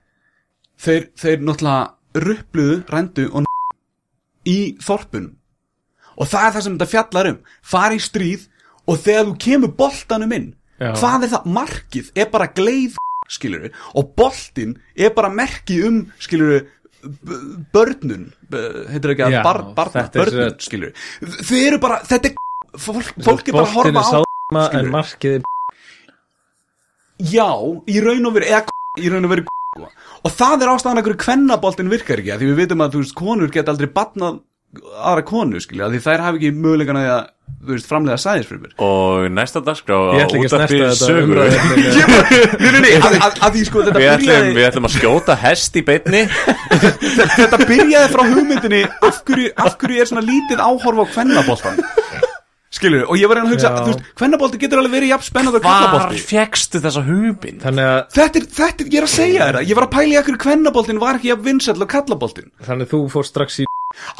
þeir, þeir náttúrulega rupluðu, rændu og n- í þorpunum og það er það sem þetta fjallar um fara í stríð og þegar þú kemur boltanum inn
Já.
hvað er það? Markið er bara gleið skilur og boltin er bara merki um skilur börnun b- heitir það ekki að
Já,
bar, barna,
þetta er svo-
börnun skilur þau eru bara, þetta er fólk, fólk er bara að horfa á
á
skilur.
En markið er
Já, í raun og veru eða k- í raun og veru k- og það er ástæðan að hverju kvennaboltin virkar ekki af því við vitum að þú veist, konur geta aldrei batnað aðra konu, skilja, af því þær hafi ekki mögulegan að, þú veist, framlega sæðisfrumur
Og næsta dagskrá á
Ég ætla ekki að
útvarpi
snerta þetta
sögu.
umræðuefni.
Nei, nei, nei, að, að, að því sko þetta
Við ætlum,
byrjaði
við ætlum að skjóta hest í beinni
þetta byrjaði frá hugmyndinni af hverju, af hverju er svona lítið áhorf á kvennaboltan skilju, og ég var að reyna að hugsa,
Já.
þú veist, kvennabolti getur alveg verið jafn spennandi og
Hvar
kvennabolti
fegstu þessa hugmynd?
Þannig að
Þetta er, þetta er, ég er að segja þér það, ég var að pæla í akkur kvennaboltin var ekki jafn vinsall og kallaboltin
Þannig þú fór strax í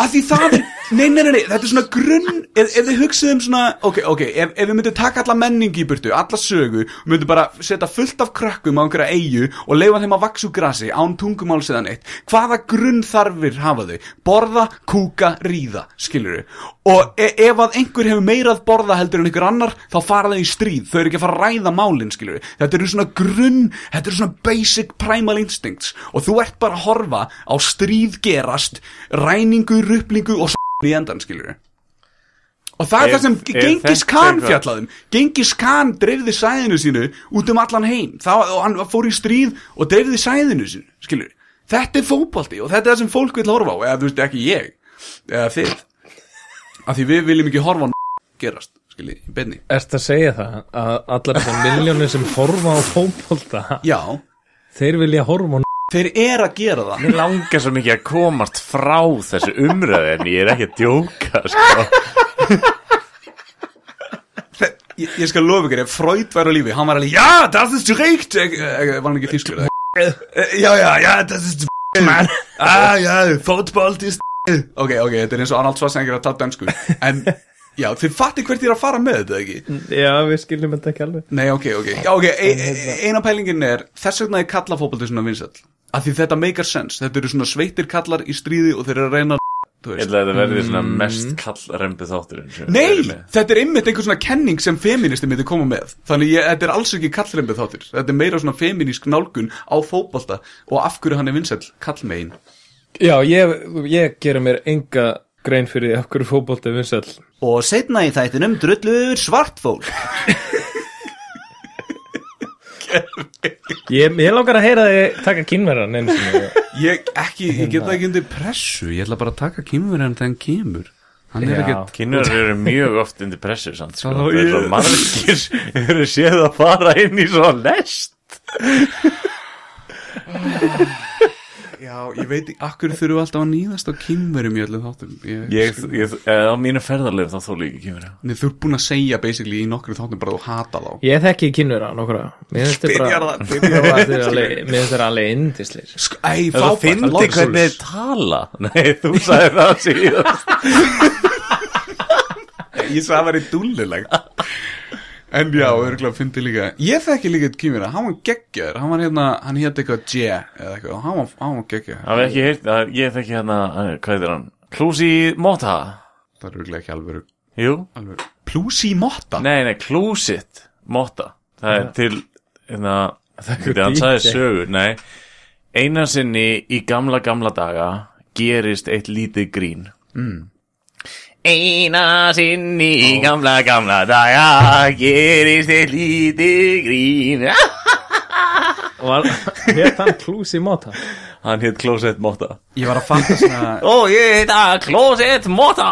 að því það er, nei, nei, nei, nei þetta er svona grunn, ef, ef þið hugsið um svona ok, ok, ef, ef við myndum taka alla menningi í burtu, alla sögu, myndum bara setja fullt af krökkum á einhverja eigu og leifa þeim að vaksa úr grasi án tungumáls eða neitt, hvaða grunn þarfir hafa þau, borða, kúka ríða, skilur og e ef að einhver hefur meirað borða heldur en einhver annar, þá fara þau í stríð þau eru ekki að fara að ræða málin, skilur þetta eru svona grunn, þetta eru svona basic primal instincts og þú ert bara að horfa á stríð gerast ræningu, ruplingu og s*** í endan skilur og það er
Ef-
það sem
ef
Gengis
þetta
Khan
eitthvað-
fjallaðum Gengis Khan dreifði sæðinu sínu út um allan heim Þá, og hann fór í stríð og dreifði sæðinu sínu skilur, þetta er fótbolti og þetta er það sem fólk vil horfa á, eða þú veist ekki ég eða þið af því við viljum ekki horfa á gerast skilur, í beinni
Erst að segja það að allar þessar miljónir sem horfa á fótbolta
já,
Þeir vilja horfa á
þeir eru að gera það
Mér langar svo mikið að komast frá þessu umræði en ég er ekki að djóka sko.
ég, ég skal lofa ykkur, ef Freud væri á lífi hann var alveg, já, das ist recht Eh, eh, var hann ekki þýskur eða? Eh, já, já, já, das ist man ah, já, fótbolt ist ok, ok, þetta er eins og Arnold Schwarzenegger að tala dansku en, já, þið fatti hvert ég er að fara með þetta, ekki?
Já, við skiljum þetta ekki alveg
nei, ok, ok, já, ok, e, e, eina pælingin er þess vegna er kalla fótbolti svona vinsall af því þetta meikar sens, þetta eru svona sveittir kallar í stríði og þeir eru að reyna að þú
Ég
veist
ætla að þetta verði svona mest kallrembi þátturinn sko. sem við
Nei,
erum með.
þetta er einmitt einhver svona kenning sem feministi myndi koma með Þannig ég, þetta er alls ekki kallrembi þáttir Þetta er meira svona feminísk nálgun á fótbolta Og af hverju hann er vinsæll kallmein
Já, ég, ég gera mér enga grein fyrir því af hverju fótbolta er vinsall
Og setna í þættinum drullur svartfól
Ég, ég langar að heyra þig taka kynverðan einu sinni
Hérna. Ég, ekki, ég get það ekki undir pressu Ég ætla bara að taka kýmverðan þegar hann kemur Hann er
Já.
ekkert
Kynnar eru mjög oft undir pressu samt sko.
Já,
Það er svo
ég-
margir sem eru séð að fara inn í svo lest
Já, ég veit ekki, akkur þurfum við alltaf að nýðast á kynverum í öllum þáttum Ég,
Ég, ég, eh, á mínu ferðarlegu þá þólu ég ekki kynur
Nei, þú ert búin að segja basically í nokkru þáttum bara að þú hata þá
Ég þekki kynvera nokkra Mér finnst þeir
Byrjar
bara-
það,
Mér
byrjar
finnst þeir alveg- mér finnst þeir alveg indislir
Sk- Æ,
Það
frábært,
finnir
Lawrence
hvernig
Lewis.
þið tala Nei, þú sagði það síðast
Ég sagði að það væri dúllilegt En já, örgulega fyndi líka Ég þekki líka eitt kýmur Hann var geggjaður, hann var hérna Hann hétt eitthvað J eða eitthvað og Hann var, hann var geggjaður
Það er ekki heyrt, það er- ég þekki hérna, eh, hvað er hann? Klúsi Mota
Það er örgulega ekki alveg,
Jú,
alveg. Plúsi Motta
nei, nei, Klúsit Mota Það er til, hérna, þekki hann sagði sögu Nei, eina sinni í gamla, gamla daga gerist eitt lítið grín Eina sinni í gamla, gamla daga gerist eitt lítið grín
Var hér þann klúsi móta
Hann hétt Klósett Mota
Ég var að fatta svona
Ó, ég heita Klósett Mota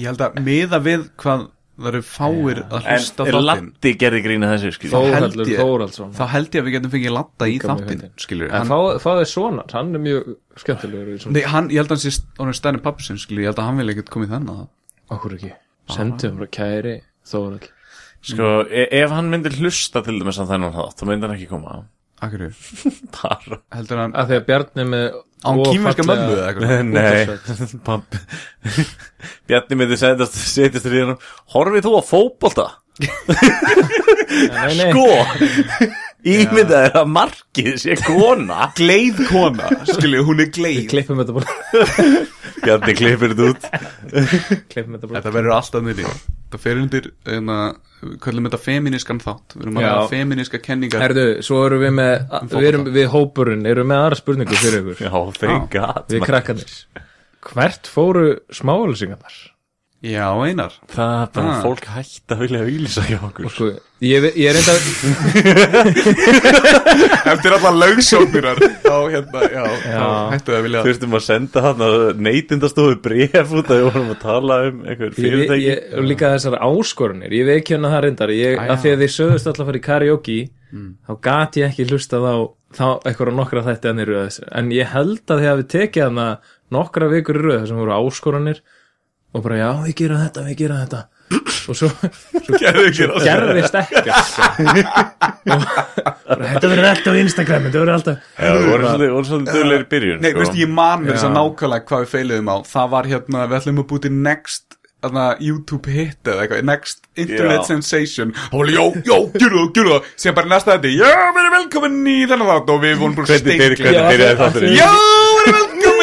Ég held að miða við hvað það eru fáir að hlusta á
En
þáttinn
Latti gerði grína þessu, skiljum
held
Þórhaldur
ég-
Þórhaldsson
Þá held ég að við getum fengið latta í
Líka með
þáttinn
hundinn.
Skilur,
En
hann,
fá, fá þér sonar, hann er mjög skemmtilegur í svona-
nei, hann, ég held að hann sé orðin stærni pappsinn Skilur, ég held að hann vil ekkert komið þennan
Okkur ekki Sendum um frá kæri Þórald
Sko, e ef hann myndi hlusta til dæmis á þennan þátt, þá myndi hann ekki koma
Akkur,
Bara
heldur hann
Af því að Bjarni er með
Án
of
kýmverska
fallega-
mömmu eða eitthvað
Nei, pabbi Bjarni myndi setjast, setjast til hérna Horfið þú á fótbolta?
Nei, nei,
Sko Ímyndað er að markið sé kona
Gleið kona, skilur, hún er gleið
klippum þetta bara
Bjarni klippir þetta út
Klippum þetta bara
Þetta verður alltaf niður Það fer undir, hérna, við köllum þetta feminískan þátt Við erum að
Já.
hafa feminíska kenningar
Herðu, svo erum við með Við erum við hópurinn, erum við með aðra spurningu fyrir ykkur
Já, þeir gat
Við krakkanir Hvert fóru smáhulsingarnar?
Já, einar
Það er bara
Ah.
fólk hætt að vilja auðlýsa hjá okkur
Sko, ég, ve- ég er enda
Eftir alla lögsóknirar Þá, hérna, já, já. hættu að vilja
Þurftum að senda hann að neytindastofu bref út að við vorum að tala um einhver
ég, ég,
fyrirtæki
ég, og Líka þessar áskorunir Ég veik hérna það reyndar ég,
Æ,
Af
já.
því að þið sögðust alltaf að fara í karaoke Þá gat ég ekki hlustað á Þá eitthvað nokkra þætti hann í röð þessu. En ég held að þið hafi tekið hann Nokkra vikur í röð þar sem voru áskorunir Og bara já, við gerum þetta, við gerum þetta Og svo, svo gerðist ekkert sko. Og bara, Þetta verður alltaf á Instagram Þetta verður alltaf
Já, við vorum svolítið, vorum svolítið dölir í byrjun
Nei,
sko.
veistu, ég man mér þess að nákvæmlega hvað við feiluðum á Það var hérna, við ætlum að búti next Þarna YouTube hit eða eitthvað Next internet
Já.
sensation Hóli, jó, jó, gjöru, gjöru Sér bara næsta þetta, já, verið velkomin í þennan þátt Og við vorum bara
Hvernig byrj-
steikli
hvernig
Já,
byrjaði
af því-
þátturinn?
Já, verið velkomin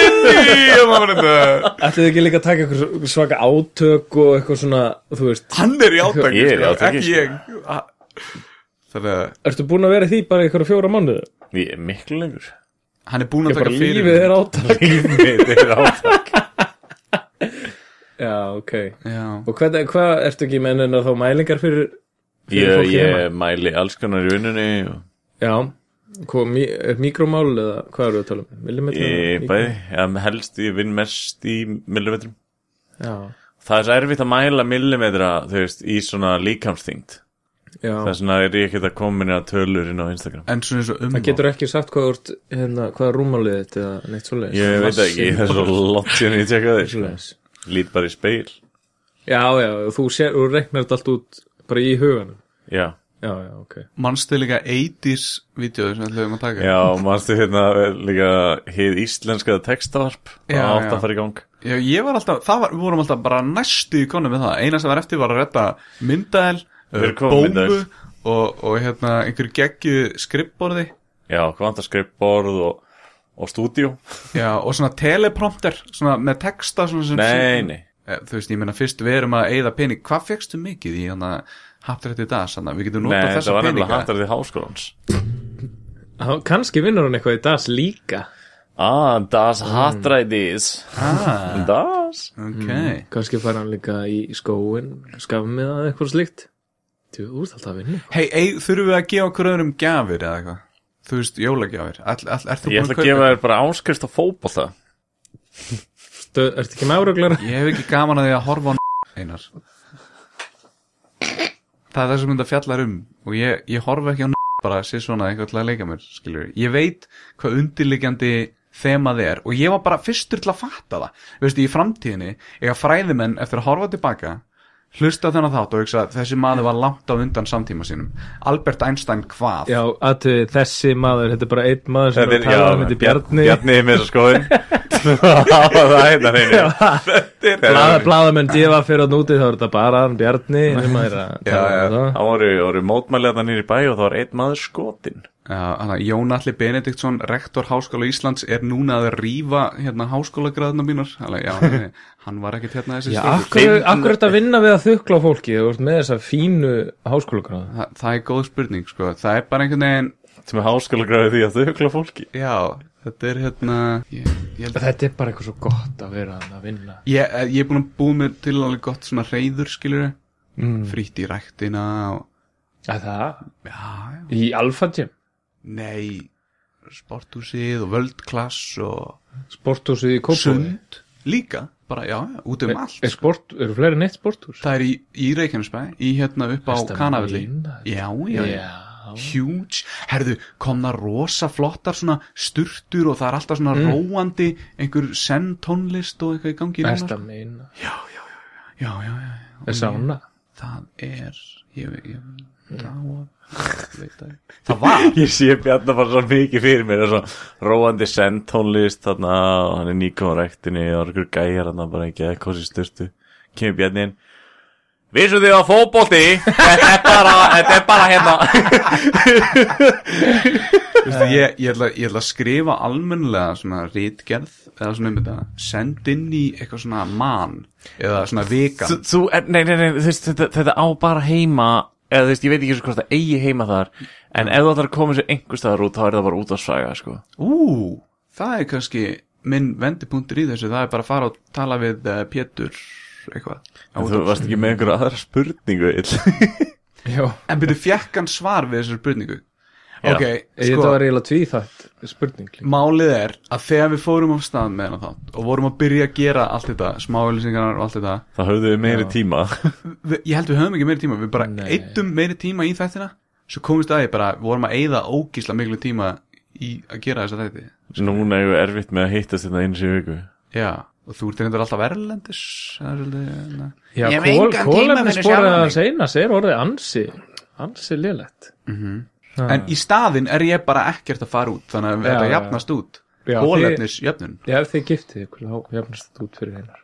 í og maður bara þetta.
Ætlið þið ekki líka að taka eitthvað svaka átök og eitthvað svona, þú veist
Hann er í átaki,
Ég er í
sko,
átaki,
ekki
sko.
ég Þannig að
Ertu búin að vera í því bara í eitthvað fjóra mánuðu?
Ég er miklu lengur
hann er búin
Ég
að
bara
taka fyrir
lífið er átak
Þetta er átak
Já, ok
Já,
Og hvað, hvað ertu ekki með en þá mælingar fyrir Fyrir
Ég,
fólki
ég mæli alls konar í vinnunni og-
Já, hvað, mí, er mikromál eða hvað eru að tala um? Millimetrar?
Ég
Mikro-
bæði, ja, helst ég vinn mest í millimetrum
Já,
Það er svo erfitt að mæla millimetra þú veist, í svona líkamsþyngd
já
Þess vegna er ég ekki að koma minni að tölur inn á Instagram
en svona eins og um
Það getur ekki sagt hvað úr, hérna, hvað er rúmálið þetta eða neitt svoleiðis
Ég veit ekki, það er svo langt síðan ég tjekka þig sko.
Svoleiðis.
Lít bara í speil
Já, já, þú, sér, þú reiknar þetta allt út bara í huganum
Já,
Já, já, ok
Manstu líka 80s vídeo sem ætlum að taka
já manstu hérna líka hið íslenska textavarp
Já,
Það átt
já.
að fara í gang
Já, ég var alltaf, það var, við vorum alltaf bara næstu í konum með það, eina sem var eftir var að redda myndaðel,
Við erum komin
bómbu
myndavél.
og, og hérna einhver geggju skrippborði
Já, kvantaskrippborð og, og stúdíu
já, og svona teleprompter, svona með texta svona sem,
Nei, nei
Eh, þú veist, ég meina fyrst við erum að eigða pening, hvað fegstu mikið í hann að haptrætti dag, sann við getum notað
Nei, þetta
þessa
var nefnilega
peninga
hattarði háskólans
Há- Kannski vinnur hann eitthvað í DAS líka
Ah, das hattræðis
Mm. ah,
Das
ok,
Kannski fær hann líka í skóin Skafmið eða eitthvað slíkt Þú þú ert alltaf að vinna
hei, hey, þurfum við að gefa okkur öðrum gjafir eða eitthvað þú veist, jólagjafir, all, all, er þú
Ég
búin
ætla að gefa þér bara áskrift á fótbolta
Ertu ertu ekki með áruglar?
Ég hef ekki gaman að því að horfa á einar Það er það sem þetta fjallar um og ég, ég horfa ekki á bara sér svona eitthvað til að leika mér skilur. Ég veit hvað undirliggjandi þemað er og ég var bara fyrstur til að fatta það Veistu, í framtíðinni eiga fræðimenn eftir að horfa tilbaka hlusta á þennan þátt og hugsa að þessi maður var langt á undan samtíma sínum Albert Einstein hvað?
Já, aðtöði þessi maður, þetta er bara einn maður sem
Þetta
er
er,
að tala um þetta er Bjarni
Bjarni er með þessa skoðin Hafa það hérna hreinu
Blaða, blaðamenn djöfa fyrir að núti þá er þetta bara hann Bjarni nema þeir að
Já,
tala
já.
um það.
Það voru, voru mótmælið þarna nýri bæ og það var einn maður skotin
Já, hana, Jón Alli Benediktsson, rektor Háskóla Íslands er núna að rífa hérna, háskólagraðna mínar Alla, já, nei, hann var ekkert hérna þessi
Já,
strákur.
akkur, akkur þetta vinna við að þukla á fólki þú ert með þessa fínu háskólagráða
Þa, það er góð spurning sko. það er bara einhvern veginn
sem er háskóla græði því að þau hugla fólki
já, þetta er hérna ég, ég, held,
Þetta er bara eitthvað svo gott að vera að vinna
ég, eh, ég er búin að búið mér til alveg gott svona reyður skilur
mm.
frýtt í ræktina og,
Að það?
já, já,
Í Alfa Gym?
nei sporthúsið og völdklass og
Sporthúsið í Kópúi?
sund líka, bara já, já, út um allt
Er sport, eru fleiri en eitt sporthús?
það er í, í Reykjanesbæ í hérna upp á
Besta
Kanavelli
mín,
já, já, já
Já
huge, herðu, komna rosa flottar svona sturtur og það er alltaf svona
Mm.
róandi einhver senn tónlist og eitthvað í gangi í núna,
Erst að meina
sko. já, já, já,
Er sána?
það er ég, ég,
Mm.
ég dáa veit það ekki. það var
Ég sé Bjarni bara svo mikið fyrir mér og svo róandi sendtónlist þarna og hann er nýkom á rektinni og það er ykkur gæjar hann bara ekki eða kosi styrtu kemur Bjarni inn Vissu þið á fótbolti Þetta er bara, þetta er bara hérna
Vistu, ég, ég, ætla, ég ætla að skrifa almennilega svona rítgerð eða svona um þetta, send inn í eitthvað svona man eða svona
þú,
vegan
þú, en- nei, nei, nei, þú veist, þetta, þetta á bara heima eða þú veist, ég veit ekki eins og hvort það eigi heima þar en ef þú ætlar að koma þessu einhver staðar út þá er það bara út að svæga, sko
ú, það er kannski minn vendipunktur í þessu, það er bara að fara og tala við uh, Pétur eitthvað
en þú varst ekki með einhverja aðra spurningu Ill.
Já
En byrju, fjekk hann svar við þessari spurningu? Ok,
Þetta
sko,
var eiginlega tvíþætt spurning líka.
málið er að þegar við fórum af stað með hann þátt og vorum að byrja að gera allt þetta, smáölisingarnar og allt þetta,
þá höfðu við meiri tíma
við, ég held við höfum ekki meiri tíma, við bara
Nei.
eittum meiri tíma í þættina, svo komist að ég bara, við vorum að eyða ógísla miklu tíma í að gera þessa þætti.
núna er við erfitt með að hittast þetta eins í viku
Já, og þú ert reyndar alltaf erlendis, það er svolítið, na.
Já, kól, kólefnisborðið að seinas er orðið ansi ansi lélegt
En í staðinn er ég bara ekkert að fara út, þannig að
Já,
þetta
já, já.
jafnast út,
Já,
hólefnisjöfnun.
Já, ef þið giftið ykkur, þá jafnast þetta út fyrir einar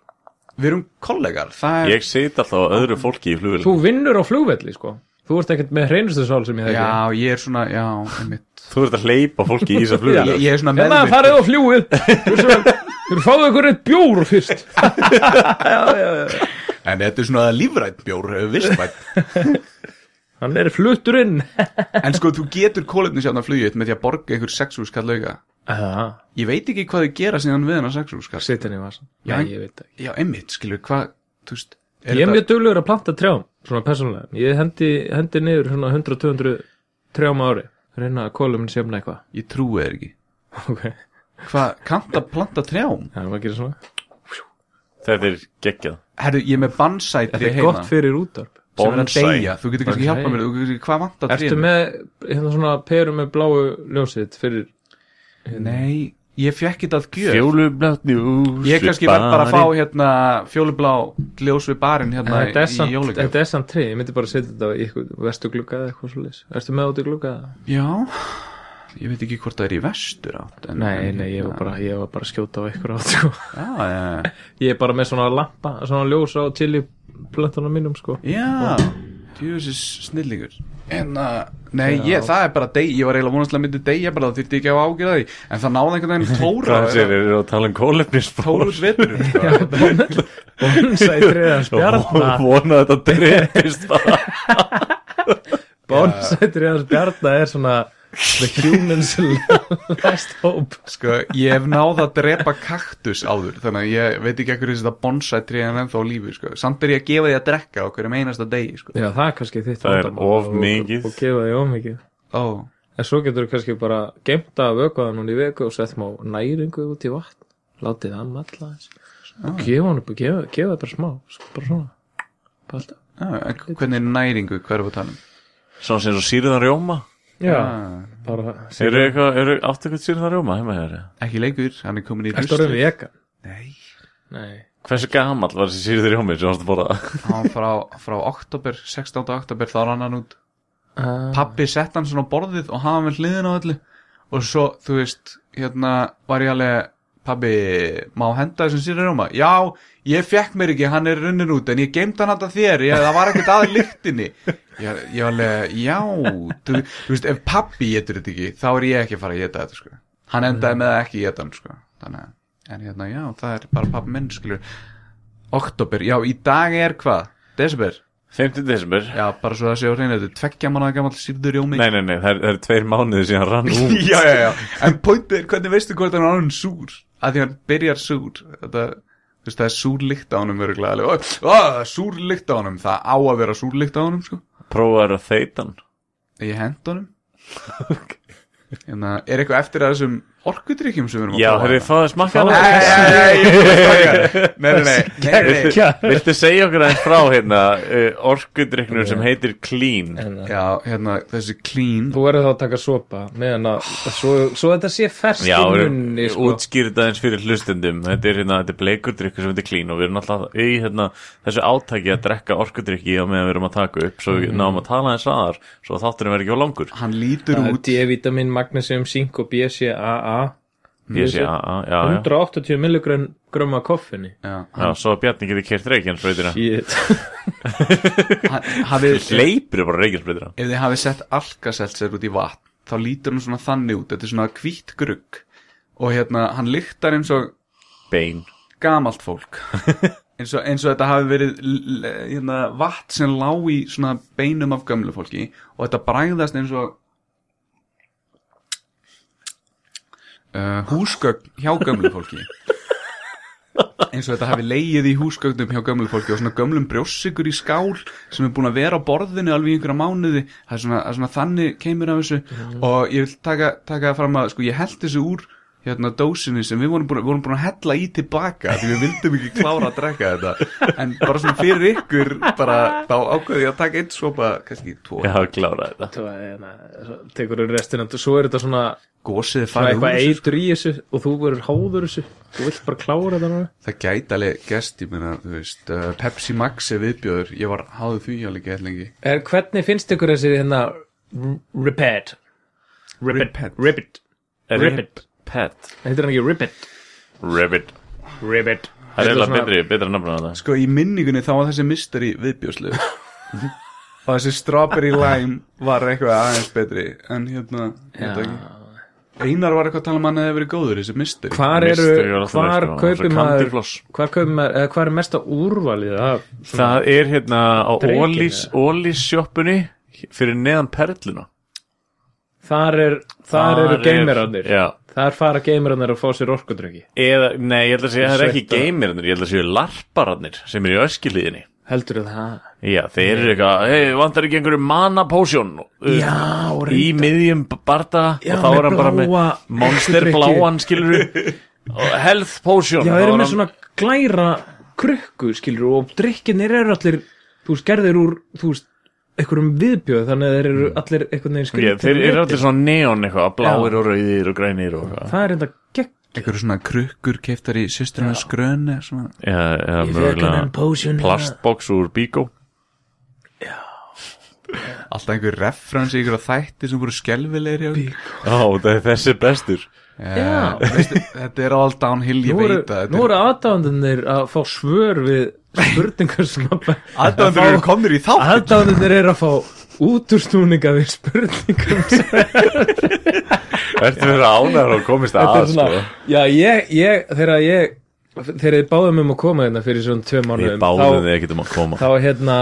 Við erum kollegar, það er...
ég sit alltaf á öðru fólki í flugil
Þú vinnur á flugvelli, sko Þú ert ekkert með hreinustu sál sem ég þekki
Já, ég er svona, já, einmitt
þú ert að hleypa fólki í þessa
ég,
flugil
ég er svona
Hérna
meðvirkur
farið á fljúið Þú svo- þú fáðu ykkur eitt bjór fyrst
En þetta er svona lífrætt bjór, eh, vissrætt
Hann er flutturinn
En sko, þú getur kólefnisjafna flugið með því að borga einhver sexúrskall lauga Ég veit ekki hvað þau gera síðan við hennar sexúrskall
Sitt henni í vasan
Já,
Já,
en-
ég veit það
Já, einmitt, skilur, hvað, þú veist
ekki Ég er mjög duglegur að planta trjám, svona persónulega Ég hendi, hendi niður svona 100-200 trjám á ári Reyna að kólum sjöfna eitthvað
Ég trúi þér ekki
Ok,
Hvað, kannt að planta trjám?
það er maður að gera svona
þetta er geggjað
Herru, ég er með bannsæti
Þetta
heima
er gott fyrir útdarp
sem er að
Bonsai.
deyja Þú getur kannski
Bonsai.
hjálpa mér, þú getur hvað vantar
Ertu
trénu?
með hérna svona peru með bláu ljósið þitt fyrir
Nei, ég fekk þetta að gjöf
fjólublátt njús
Ég kannski verð bara að fá hérna fjólublá ljós við barinn
En
hérna
Þetta er
í
samt,
jólugjöf
þetta er samt tré, ég myndi bara að setja þetta í eitthvað vestu glugga eða eitthvað svolítið Ertu með út í glugga?
Já, ég veit ekki hvort það er í vestur átt en,
Nei,
en,
nei, ég var bara, ég var bara að skjóta á eitthvað átt sko.
Já, já,
Ég er bara með svona lampa, svona ljós á chili plöntana mínum sko
já Tjóðis snillingur En að, nei, ég, það er bara deg Ég var eiginlega vonastlega myndi degja bara Það þurfti ekki að ágjöra því En það náði einhvern veginn tóra
Hvað sér, eru að tala um kólefnisbór?
Tóruð vetur sko.
Bonsai treðans bjarna
Vona að þetta dreifist bara
Bonsai treðans bjarna er svona The humans last hope
sko, ég hef náð að drepa kaktus áður Þannig að ég veit ekki ekkur Þetta bonsætri en ennþá á lífi sko. Samt er ég að gefa því að drekka á hverjum einasta degi sko.
Já, það er kannski þitt
Það er
vandamál
of
og-
mikið.
Og gefa því of mikið
Ó,
En svo getur þú kannski bara gemt að vökvaða núna í veku og sett má næringu út í vatn látið hann alla
Ah.
og gefa hann upp og gefa, gefa það bara smá sko, bara svona bara alltaf.
Ah, en hvernig er næringu, hvað er við tannum?
Svo sem svo sýrðan rjóma
já,
Ah,
bara
Eru eitthvað, eru áttu eitthvað sýrðan rjóma heima hér?
ekki leikur, hann er komin í
Ertu orðin vegan?
Nei,
Nei
Hversu gamall var þessi sýrðan rjómi sem varst að borða?
hann frá, frá oktober, 16. oktober þá rann hann út
Ah.
pappi sett hann svona á borðið og hafa hann við hliðin á öllu og svo, þú veist, hérna var ég alveg pabbi, má henda þessum sýri rjóma já, ég fekk mér ekki, hann er runnin út en ég geimd hann alltaf þér, ég, það var ekkert að lyktinni ég, ég alveg, já þú, þú veist, ef pabbi getur þetta ekki þá er ég ekki að fara að geta þetta sko. hann endaði með að ekki geta hann sko. þannig, að- en hérna, já, það er bara pabbi minn skilur, oktober, já, í dag er hvað, desember
15. desember?
Já, bara svo það sé á hreinu, þetta er tveggja mánaða gamall sýrður rjómi
Nei, nei, nei, það er, það er tveir mánuðir síðan hann rann út
já, já, já, en pointið er hvernig veistu hvort hann er orðin súr að því hann byrjar súr þetta, þú veist, það er súr lykt á honum örgulega, ó, ó, það er súr lykt á honum það á að vera súr lykt á honum sko.
Prófaður að þeita hann
ég hend honum en það er eitthvað eftir að þessum orkudrykkjum sem við erum að
Já,
prófa
hefur þið
hérna?
fáið að smakka hann?
Nei, nei, nei, nei, nei, nei, nei, nei, nei, nei.
Viltu segja okkur aðeins frá hérna uh, orkudrykknum sem heitir Clean
En, uh,
Já, hérna, þessi clean
Þú verður þá að taka sopa meðan að svo, svo þetta sé fersk
Já,
í
við erum
munni sko.
útskýrið aðeins fyrir hlustendum Þetta er hérna, þetta er bleikurdrykkur sem heitir Clean og við erum alltaf í hérna, þessu átaki að drekka orkudrykki á meðan við erum að taka upp svo við
Mhm.
náum að tala aðeins aðar svo að þátturinn verður ekki á langur
hann lítur
Það er
út
D-vitamin, magnesium, zink og BCAA
Ég sé, já, já, já, já.
180 milligrunn gröma koffinni
já,
já Svo að Bjarni getur kert reikjansbreytina
Shit
hann, hafið
Leipur bara reikjansbreytina
ef þið hafið sett alkaseltser út í vatn þá lítur hann svona þannig út þetta er svona hvítt grugg og hérna, hann lyktar eins og
Bein
gamalt fólk eins og, eins og þetta hafi verið l- l- hérna, vatn sem lá í svona beinum af gömlu fólki og þetta bræðast eins og uh, húsgögn hjá gömlu fólki eins og þetta hafi leið í húsgögnum hjá gömlu fólki og svona gömlum brjóssikur í skál sem er búin að vera á borðinu alveg í einhverja mánuði það er svona, það er svona þannig kemur af þessu og ég vil taka, taka fram að sko ég held þessu úr hérna dósinni sem við vorum búin, vorum búin að hella í tilbaka því við vildum ekki klára að drekka þetta en bara svona fyrir ykkur bara þá ákveði ég að taka einn svopa kannski tvo
Já, klára þetta
Svo, eh, na, svo tekur þú restina svo er þetta svona
gósið er
svona
farið úr
eitthvað
þessu, sko.
eitur í þessu og þú verður háður þessu þú vilt bara klára þetta núna
það gæti alveg gest ég meina þú veist uh, Pepsi Max er viðbjöður ég var háðu því alveg gett lengi
er, Hvernig finnst ykkur þessi hérna r- Ribbit
Ribbit.
Ribbit Ribbit
Ribbit Pet
Heitir hann ekki Ribbit
Ribbit
Ribbit
Það er eiginlega betri, betra nafn á þetta
Sko í minningunni þá var þessi mystery viðbjóðslegur og þessi strawberry lime var eitthvað aðeins betri en hérna, hérna ekki Einar var eitthvað að tala um hann að það hefur verið góður þessi mystery
Hvar
Mystery
eru,
var alltaf
hvar
næst, sko.
kaupir
Svo
maður
Candyfloss.
Hvar kaupir maður, eða hvar er mesta úrvalið af
Það er hérna á
Drekinn,
Ólís Ólís sjoppunni fyrir neðan perluna
Þar, er, þar eru geimirarnir
Já
Þar fara geimirarnir að fá sér orkudrykki
Eða, nei, ég ætla að segja að það er ekki
Sveittar.
geimirarnir, ég ætla að segja larpararnir sem eru í öskilíðinni.
Heldur það?
Já, þeir eru eitthvað, hei, vantar ekki einhverju manapósjón
Já,
uh, í miðjum barda
Já,
og þá er
með
hann bara með
bláa
monster
orkudrykki.
bláan, skilur og health potion.
Já,
þá
þeir eru
er
með
hann-
svona glæra krukku, skilur, og drykkinir eru allir, þú veist, gerðir úr, þú veist, einhverjum viðbjöð, þannig að þeir eru allir einhvern
Mm.
veginn
Já,
skilur.
þeir eru allir svona neon eitthvað, bláir og rauðir og grænir og eitthvað.
Það er enda gegn.
Einhverju svona krukkur keiftar í sýstruna skröni svona.
Já, já, mögulega
potion. hérna.
plastbox úr bíkó.
Alltaf einhver referens í einhverja þætti sem voru skelvilegri og-
Já, það er þessi bestur.
Eh, veistu, Þetta er all downhill, ég
Nú eru,
veit að
nú eru aðdáðanir að fá svör við spurningar sem að...
Aðdæðandur eru komnir í þátt
Aðdáðanir eru að fá útúrstúninga við spurningum sem...
Ertu verið ánæður og komist
Þetta
að,
er
sko.
svona, já, ég, ég, þegar ég, þegar ég báðum um að koma hérna fyrir svona tvö
Ég
mánuðum,
báði
þá,
þið ekki um að koma.
þá hérna,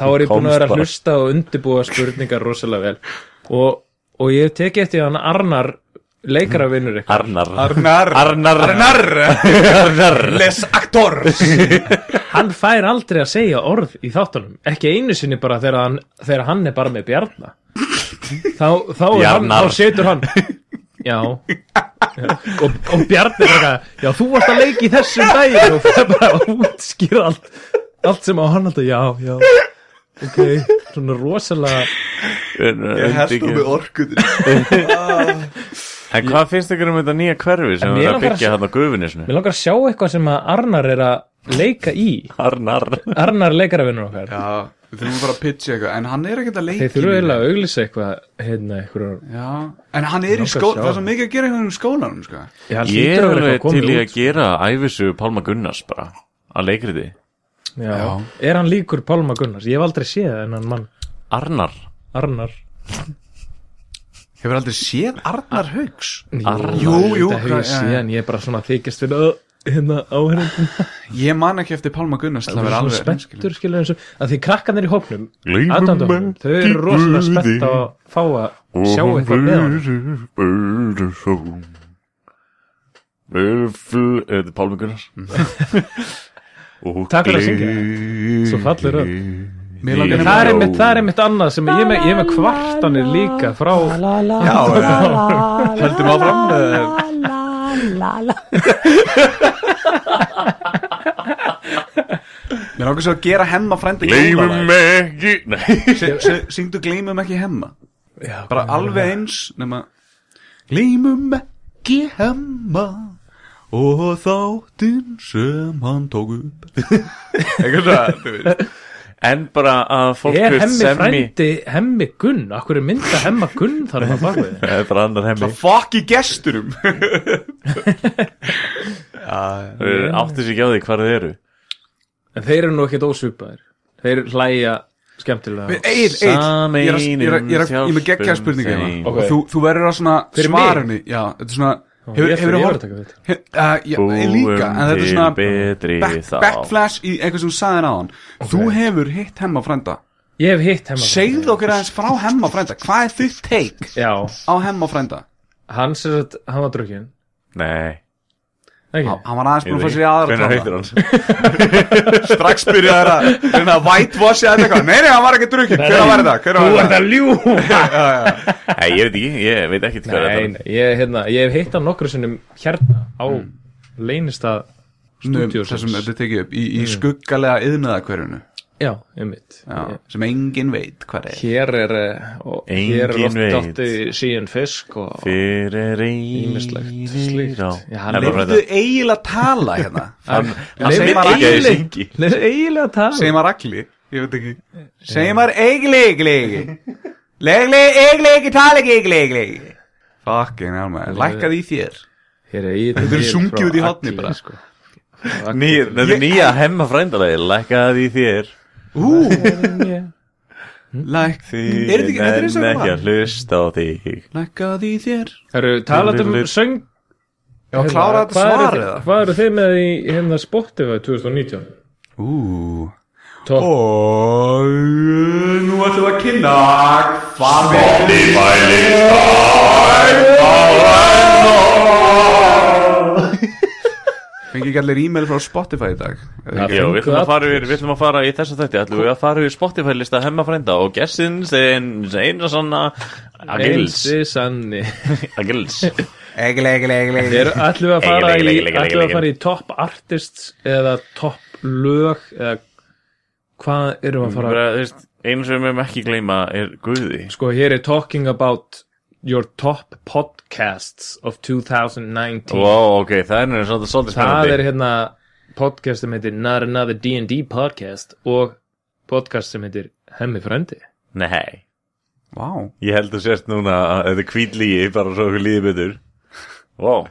þá er ég búin að
Komst
vera að
bara.
hlusta og undibúa spurningar rosalega vel og, og ég hef tekið eftir hann Arnar, leikaravinnur ykkur,
Arnar.
Arnar,
Arnar.
Arnar,
Arnar.
les aktors
Mm.
hann fær aldrei að segja orð í þáttunum, ekki einu sinni bara þegar hann, þegar hann er bara með Bjarna, þá, þá, er hann,
Bjarnar.
þá setur hann, já og, og Bjarni er eitthvað já þú varst að leika í þessu daginn og það er bara að útskýra allt allt sem á hann alltaf, já, já ok, svona rosalega
Ég held þú með orkutin
En hvað finnst ykkur um þetta nýja hverfi sem
En
það
mér
er að
langar að
byggja
sjá-
hann á gufinisnu?
mér langar að sjá eitthvað sem að Arnar er að leika í
Arnar
Arnar leikaravinnur okkar
Já, við þurfum að fara að pitcha eitthvað En hann er ekkert að leiki
þeir þurfa eiginlega að auglýsa eitthvað hérna, eitthvað
Já, en hann er í skóla
Langar að sjá
Það er
hann.
svo mikið að gera eitthvað um skólanum sko.
Já, hann
Ég
hlýtur
er
að vera
alveg
eitthvað
til í
komið
að gera æfisugu Pálma Gunnars bara að leikriði
út já. Er hann líkur Pálma Gunnars? Ég hef aldrei séð hennan mann
Arnar
Arnar
Hefur aldrei séð Arnar Haugs
Arnar.
Jú,
jú,
Þetta hefur
hvað-
ég séð
já.
en ég er bara svona að þykist fyrir öð, hérna áhverjum
Ég man ekki eftir Pálma Gunnars til að vera alveg
spenntur skilur eins og að því krakkanir í hópnum
Leifum
aðdóndum, þau eru
ekki
rosalega
Guði.
spennt á að fá að sjá eitthvað með hann
Böðursson Böðurfl Þetta er Pálmi Gunnars Og
Takk fyrir að syngja. Svo falleg rödd. En það er einmitt, það er einmitt annað sem ég er með, ég er með kvartanir líka frá
Já, já. höldum áfram eh, Mér langar svo að gera hemma frænda
Leifum ekki Nei
Syngdu gleymum ekki hemma Bara alveg eins nema Gleymum ekki hemma Og þáttinn sem hann tók upp Eitthvað það, þú veist
En bara að fólk
Er
vill
hemmi
semmi-
frændi, hemmi gunn Akkur er mynda hemma gunn þar maður bakvið
Það er bara annar hemmi
Það fokk í gesturum
Þau áttu sér ekki á því hvar þið eru
En þeir eru nú ekkert ósvipaðir Þeir hlæja skemmtilega
Egil, Egil, ég er að- ég er að- ég er að- ég er með geggja spurninga hérna.
Ok.
Og þú, þú verður að svona
Fyrir mig?
svarunni Já, þetta er svona Hefur,
Ég ætla-
hefur þú
ég var að
hort
taka við þetta.
Ég líka, en þetta er
til
svona
betri
back,
þá.
Backflash í eitthvað sem þú sagðir á hann Þú hefur hitt hemma frænda
Ég hef hitt hemma
Segðu okkur aðeins frá hemma frænda Hvað er þitt take
Já,
á hemma frænda?
hann sér að hann var drukkin
Nei
Ekki?
Hann var aðeins búin að fá sér í aðra
Hvernig
tóna
heitir hann?
Strax byrjaði að reyna að whitewash eða eitthvað Nei, nei, hann var ekki drukkin Hver var þetta? Hver
Þú
var
ert
þetta?
að ljúga
Nei, ég veit ekki, ég veit ekki hvað þetta
Nei,
er
nei, ég, hérna, ég hef hitt hann nokkru sinnum hérna á leynistað
Nú,
stúdíósins.
Þessum þetta er tekið upp Í, í
Mm.
skuggalega yðnaðakverjunu
Já, einmitt
Sem engin veit hvað er
Hér er eh, og Hér er
Enginn
oft
veit.
átti síðan fisk og
Fyrir
Ýmislegt
einir
slíkt.
á
Já, hann
Nei,
lifði-
bara
Leifðu
þetta.
eiginlega að tala hérna
Leyfðu
segir maður
Ekki að ég
eiginlega-
syngi.
Leyfðu eiginlega að tala
Segir maður agli? Ég veit ekki Segir maður eigli, eigli, eigli Legli, eigli, ekki, tala ekki, eigli, eigli Fucking hell maður, lækkaði í þér
Hér er eiginlega
Þetta er
til
sungið
frá
út í horni
Agli,
bara.
sko.
Nýja- Þetta er
Ég-
nýja hemma frændalegi Lækkaði í þér
Ú, læk
Því
Er þetta ekki- þetta er eins og
nenni ekki
eitthvað.
að hlusta á þig
Lækkaði í þér
Herru, talað um
Lillir.
söng
Já, klára þetta
Hvað
svar
eru þið-
eða
Hvað eru þið með í hérna Spotify 2019?
Ú
Topp
Og nú ætlum við að kynna Hvað er Fengi ekki allir e-mail frá Spotify í dag
Já, við ætlum að fara yfir, við ætlum að fara í þessu þætti ætlum við að fara yfir Spotify lista hemma frænda og gessins einu sanna Agils
Einsi sanni
Agils
Egli, egli, egli, egli
Er- Ætlum við að fara
Egil, Egil,
í
Egil,
Ætlum við
Egil.
að fara í top artists eða top lög eða hvað erum við að fara
Bara, þú veist, einu sem við mögum ekki gleyma er Guði
Sko hér er talking about your top podcasts of 2019
Wow, ok, það er nú svolítið svolítið
Það
spennandi
er hérna podcast sem heitir Not Another D&D Podcast og podcast sem heitir Hemmi Frendi
Nei,
Vá
ég held að sérst núna að þetta er kvítlíi bara svo okkur líði betur Eh, Wow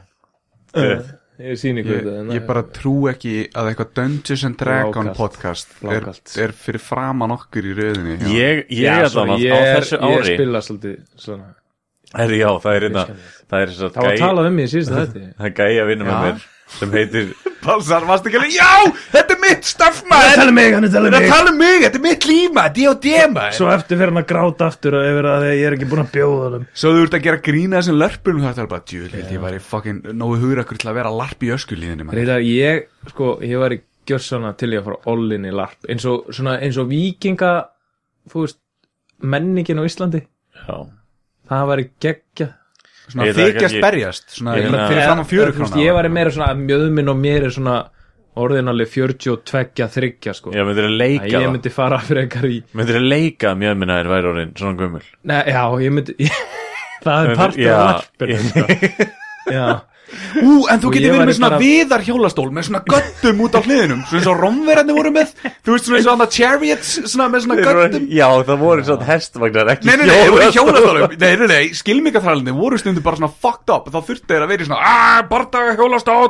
Uh, Ég sýni hvað þetta
Ég,
hérna.
ég bara trú ekki að eitthvað Dungeons and Dragon
Blákalt.
podcast er,
Blákalt.
er fyrir framan okkur í röðinni já.
Ég, ég
Já,
er allan
svona,
á
ég
á
er-
þessu ári
Ég spila svolítið svona
Herri, já, það er einna
skemmtilegt.
Það er þess
Það var
að
að
gæja
tala um mig í síðasta þetta
Það er gæja að vinna með
Já.
mér sem heitir
Pálsar, varstu ekki alveg, já, þetta er mitt stöfmaður Þetta er mig, hann er talað mig Þetta er mig, þetta er mitt líma, D.O.D. maður Svo,
um Svo eftir fyrir hann að gráta aftur að yfir að ég er ekki búin að bjóða honum
þú ert að gera grína þessum lörpunum þetta er bara, djúl, ég var í fucking nógu hugrakur til að vera larp í öskulíðinni maður
Reyðar, ég, sko, ég var í gjörsana til ég að fara allin í larp eins og, svona, eins og vikinga þú veist, menningin á Íslandi
Já
það var í geggja
Svona
Ég veit það
þykjast
ekki.
berjast Svona
Ég meina-
fyrir fram á fjöru
Þú veist, ég var meira svona að mjöðminn og mér er svona orðinalið 42 þryggja sko
Já, myndir að
Æ,
leika
ég
það
myndi fara frekar í
Myndir að leika mjög minna er væri orðin svona gömul
Nei, já, ég myndi það er part
Já.
af varpinu sko. já,
Ú, en þú
Og
getur
ég
verið
væri
með svona
bara-
viðar hjólastól Með svona göttum út á hliðinum Svona eins og romverandi voru með Þú veist svona eins og annað chariots Svona með svona göttum
Já, það voru svona hestvagnar ekki
Nei, nei, nei, þeir voru í
hjólastól.
hjólastólum Nei, nei, nei, skilmingaþrælinni voru stundu bara svona fucked up Þá þurftu þeir að vera í svona Aaaa, bardaga hjólastól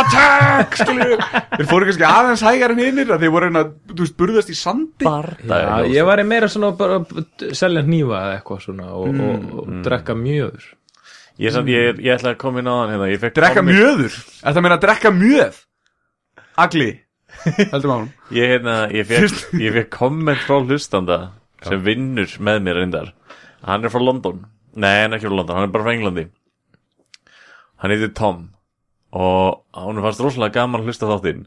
Attack, skilju Þeir fóru kannski aðeins hægar en hinnir Þeir voru hérna, þú veist, burðast í sandi
já
Bardaga
ég var meira svona bara að selja hnífa eða eitthvað svona og, og,
mm.
og drekka mjöður
Ég, samt, ég, er- ég ætla að koma inn á hann hérna ég fékk
Drekka
kommik-
mjöður Er það meina að drekka mjöð? Agli Heldum ánum
Ég, hérna, ég fékk, ég fékk komment frá hlustanda sem vinnur með mér reyndar Hann er frá London Nei, hann er ekki frá London, hann er bara frá Englandi Hann heitir Tom og hann fannst rosalega gaman að hlusta á þáttinn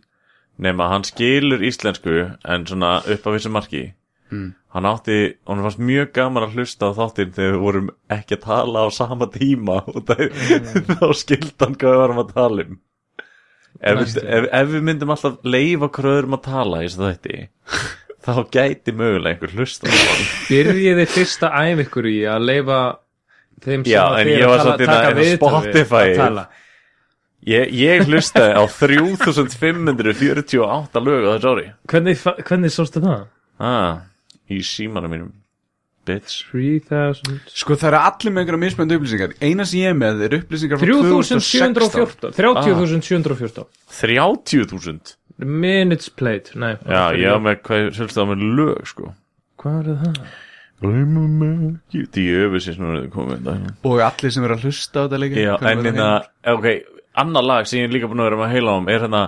nema hann skilur íslensku en svona upp af vissu marki Hann átti, hann fannst mjög gaman að hlusta á þáttinn þegar við vorum ekki að tala á sama tíma og það, þá skildi hann hvað við varum að tala um Ef, við- ef, ef við myndum alltaf leifa hvað öðrum að tala í þessu þætti þá gæti mögulega einhver hlusta á hann
byrjiði fyrsta æf ykkur í að leifa þeim sem
Já,
að
en
þið
ég
að
var
tala-
samt inn á-
taka
inn á
viðtal við
Spotify.
að tala.
Ég, ég hlustaði á 3548 lög á þessu ári
hvernig, fa- hvernig sástu það?
ah, Í símanum mínum Bitch
3000
Sko það eru allir með einhverja mismöndu upplýsingar Eina sem ég er með er upplýsingar frá 2016
3714 30714
30.000
minutes played nei,
Já, ég var með hvað hlustaði á með lög sko
hvað er það?
Gleymum ekki Því öfisins núna er komið þetta hérna.
Og allir sem eru að hlusta á þetta leika
Já, en hérna, ok, annað lag sem ég er líka búin að vera með að heila um er hérna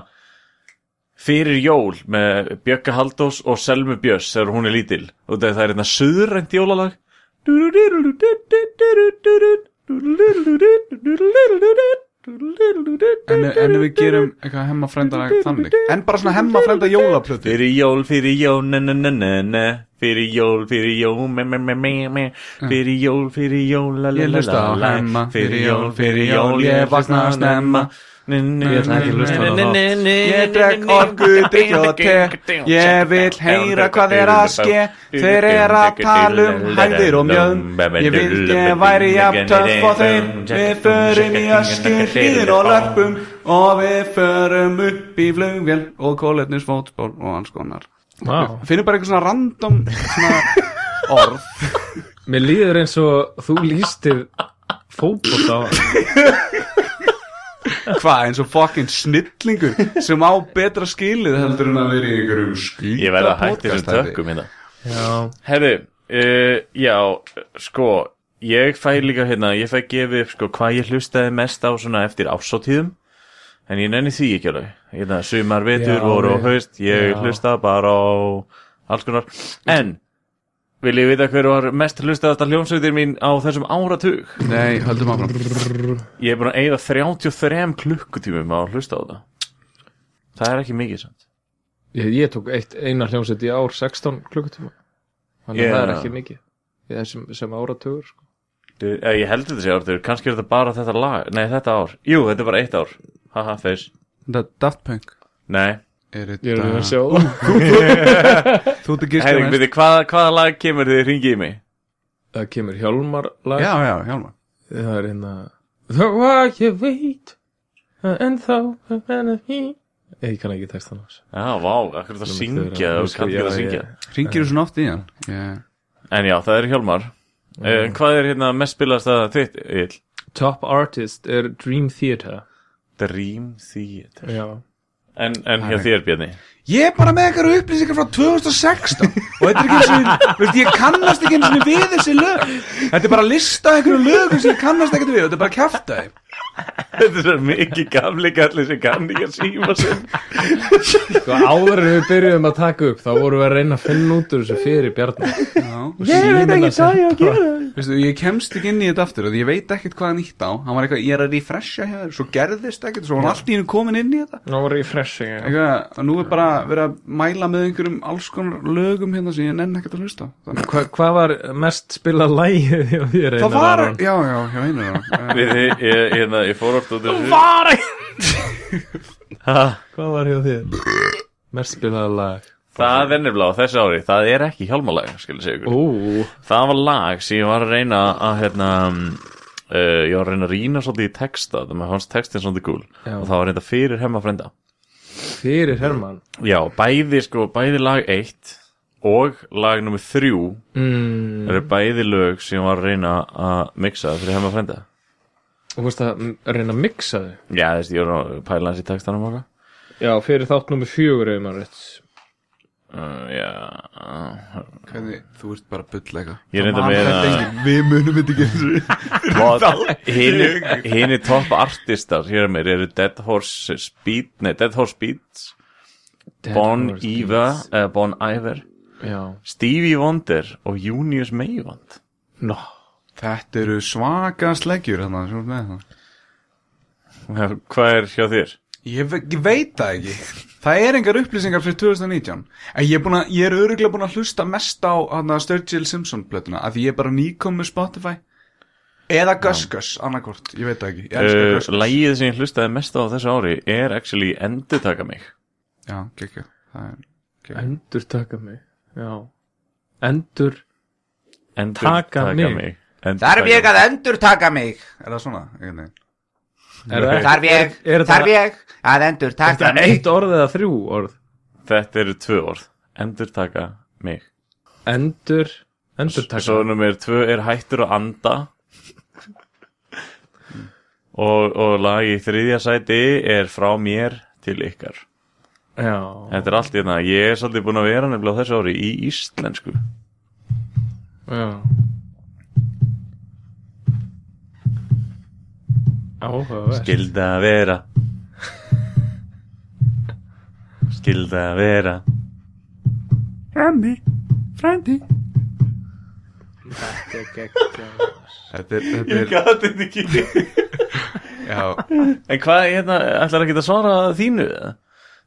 Fyrir jól með Bjökka Haldós og Selmu Björns þegar hún er lítil og það það er hérna söðrænt jólalag
En, en ef við gerum eitthvað hemmafrenda þannig En bara svona hemmafrenda jólaplötu
Fyrir jól, fyrir jól, ne ne ne ne ne Fyrir jól, fyrir jól, me me me me me Fyrir jól, fyrir jól, la la
Mm. Ég
la
hlusta
la
á
la
Hemma, fyrir jól, fyrir jól, ég vakna snemma.
Nei, nei,
Ég
ég
ætla
ætla
ekki að
ekki
hlusta
hlusta
á það.
á það
Ég dreg orgu, drikja og te Ég vil heyra hvað er að ske Þeir eru að tala um hæðir og mjöðum Ég vildi ég væri jafn töff á þeim Við förum í ösku hlýðir og lörpum Og við förum upp í flugvél Og kóletnis fótból og alls konar
Wow.
Finnum bara eitthvað svona random svona orð
Mér líður eins og þú lístir fótbolta á hann.
Hvað eins og fucking snillingur Sem á betra skilið heldur en að vera í einhverjum skýta
Ég verða hætti þessum tökum hérna
Já,
Herðu, uh, já, sko Ég fæ líka hérna, ég fæ gefið upp sko hvað ég hlustaði mest á svona eftir ásótíðum En ég nenni því ekki alveg Hérna, sumar, vetur,
Já,
voru og
ég-
haust Ég
já.
hlusta bara á alls konar En, vil ég vita hver var mest hlustaði þetta hljómsveitir mín á þessum áratug?
Nei, höldum áfram
Ég er búin að eyða 33 klukkutímum á að hlusta á það Það er ekki mikið samt
ég, ég tók eitt, eina hljómsveit í ár 16 klukkutíma Þannig
Já.
að það er ekki mikið Ég er sem, sem áratugur sko.
Du- eh, Ég heldur þetta sé áratugur, kannski er þetta bara þetta lag Nei, þetta ár, jú, þetta er bara eitt ár Haha, feis,
Da- Daft Punk
nei
Er
Ég er að
þetta
sjá það
Þú ert að gíska
Herring,
mest
byrju, hvað, hvaða lag kemur þið ringið í mig?
Það kemur Hjálmar lag
Já, já, hjálma
Það er hérna Þó að ég veit En þá Ég kann ekki sko. texta hans
Já, vá, akkur það syngja og kannski það syngja
Ringir þú svona oft í hann? Yeah.
En já, það er Hjálmar uh, Hvað er hérna mest spilast að þitt? Ill?
Top artist er Dream Theater
Dream Theater
Já
En, en hjá þér, Bjarni
Ég er bara með eitthvað upplýsingar frá 2016 og þetta er ekki eins og, veist, ég kannast ekki eins og við þessi lög Þetta er bara að lista einhverju lögum sem ég kannast ekkert við, þetta er bara að kjafta þeim
Þetta er svo mikið gamli galli sem kann ekki að síma sinn
Sko áður en við byrjuðum að taka upp þá vorum við að reyna að finna út úr þessu fyrir Bjarni Ég veit ekki það ég að gera
Veistu, ég kemst ekki inn í þetta aftur af Því ég veit ekkert hvað hann ítt á Hann var eitthvað, ég er að refresha hér Svo gerðist ekkert, svo var hann allt í hennu komin inn í þetta
Nú var ég freshing já.
Eitthvað, og nú er bara verið að mæla með einhverjum alls konar lögum hérna sem ég nenn ekkert að hlusta á. Þannig,
Hva, Hvað var mest spilað lægið hjá þér
Það
Einar
var,
Aron?
já, já, já, einu það
Við, ég, ég, ég, ég fór oft út þessu
Var Hvað var hjá þér? Mest spilað lag
Það er nefnilega á þessu ári, það er ekki hjálmalag, skal ég segja ykkur
Ú,
Það var lag sem ég var að reyna að, hérna, uh, ég var að reyna að rýna svolítið í texta Það maður hans textin svolítið gúl
Já.
Og það var reynda fyrir hemma frenda
fyrir Herman
Já, bæði sko, bæði lag 1 og lag nummer 3
mm,
eru bæði lög sem ég var að reyna að mixa fyrir hemma frenda
Og veist að m- reyna að mixa þau
Já, þessi, ég var að pæla hans í textanum okkar
Já, fyrir þátt nummer fjögur ef maður rétt
Uh, já
Hvernig, þú ert bara að bulla eitthvað
Ég reynda
Man
meira
þetta enginn, Við munum þetta ekki eins og
Hini topp artistar hér meir eru Dead Horse Speed Nei, Dead Horse Beats Bon
Horse
Iver uh, Bon Iver
Já
Stevie Wonder og Junius Mayvand
Nó
Þetta eru svaka sleggjur hérna, sem þú ert með það
Hvað er hjá þér?
Ég, ve ég veit það ekki Það er engar upplýsingar fyrir 2019 En ég er, búin að, ég er öruglega búin að hlusta mest á hana, Sturgill Simpson plötuna Af því ég er bara nýkom með Spotify Eða Gus Gus, annarkort Ég veit það ekki, ég elska
Uh,
Gus Gus
Lægið sem ég hlustaði mest á þessu ári er actually Endurtaka mig
Já, kekja Það er kekja
Endur taka mig Já Endur
Endurtaka
Taka mig.
mig, Endurtaka
að endurtaka mig
Er það svona? Einhvern veginn?
Er það
Þarf ég,
Er þetta-
ég að endurtaka
Þetta er eitt orð eða þrjú orð
Þetta eru tvö orð Endurtaka mig
Endur Endur taka
Svo nummer tvö er hættur að anda og, og lag í þriðja sæti er frá mér til ykkar
Já
Þetta er allt hérna, ég er svolítið búin að vera nefnilega á þessu ári í íslensku
Já Áhugaverð
Skilda að vera Skilda að vera
Þetta er, þetta er,
Gat þetta ekki
já,
En hvað, hérna, ætlar ekki að svara þínu? eða?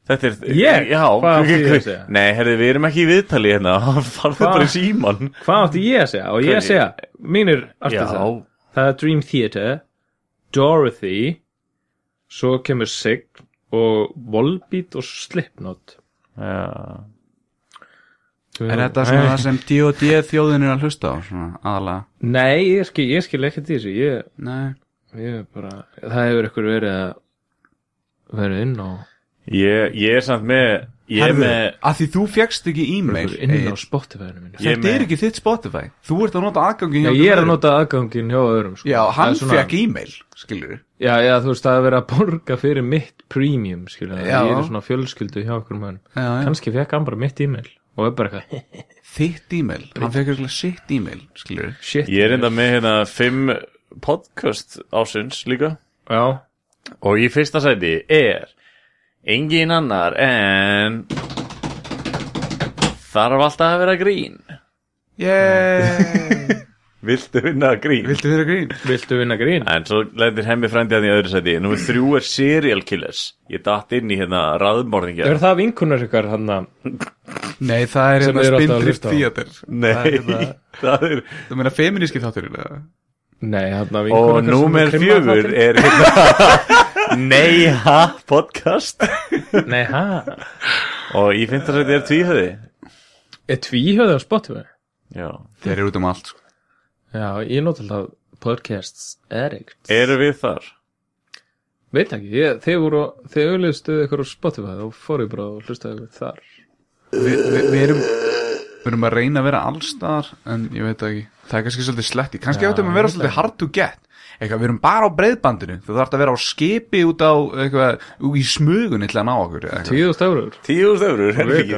Þetta er
Ég?
Já
Hvað átti ég að segja?
Nei, herði, við erum ekki í viðtali hérna Farðu bara í síman
Hvað átti ég að segja? Og ég að
Hvernig-
segja Mínir artistar Það er Dream Theater Dorothy Svo kemur Sig Og Volbeat og Slipknot
Já
er þetta
Eh,
svona það sem D.O.D. þjóðin er að hlusta á svona, aðalega?
Nei, ég skil, ég skil ekkert í þessu ég,
Nei
ég er bara, Það hefur ykkur verið að verið inn á,
Ég, ég er samt með Ég er
Herðu,
með
Af því þú fegst ekki e-mail
inn á
Egill.
Spotify-inu mínu
Ég er
Þetta
með-
er ekki þitt Spotify Þú ert að nota aðgangi
Já, ég er að nota aðgangin hjá öðrum sko.
Já, hann
Það er svona-
fekk e-mail, skilur
Já, já, þú veist, það er verið að borga fyrir mitt premium, skilja
Já.
Ég er svona fjölskyldu hjá okkur mönnum
já.
Kannski fekk hann bara mitt e-mail og er bara eitthvað
þitt e-mail, hann fekk eitthvað sitt e-mail skilur,
Shit
Ég er enda með hérna Fimm podcast ásins líka
Já,
Og í fyrsta sæti er Engin annar en Þarf alltaf að vera grín
yeah.
Viltu vinna grín?
viltu vera grín?
viltu vinna grín?
En svo lendir hemmi frændi hann í öðru sæti Númer þrjú er serial killers Ég datt inn í hérna
Er
raðmorðingja
það vinkunar ykkar hann að
Nei, það er
Sem
hérna
eru alltaf að
spindrift
hlusta á. hérna-
theater
Nei,
hérna-
það er
þú meina feminíski þátturinn eða?
Nei, hann að vinkunar
Og númer fjögur er hérna Nei, ha, podcast
Nei, hæ,
Og í fimmta sæti er tvíhöði
er tvíhjöðu á Spotify?
Já.
þeir eru út um allt sko.
Já, ég nota alltaf podcasts
Eh-
errekt
Eru við þar?
Veit ekki, ég, þeir voru, þeir auðlistuðu ykkur á Spotify og fór ég bara og hlustaði ykkur þar
Vi, vi, við erum við erum að reyna að vera allstar en ég veit það ekki, það er kannski svolítið sletti kannski áttum við að vera svolítið hard to get eitthvað, við erum bara á breiðbandinu þú þarf að vera á skipi út á eitthvað, í smugunni til að ná okkur eða eitthvað.
10.000 eurur
Tíu úrst öfrur, helviki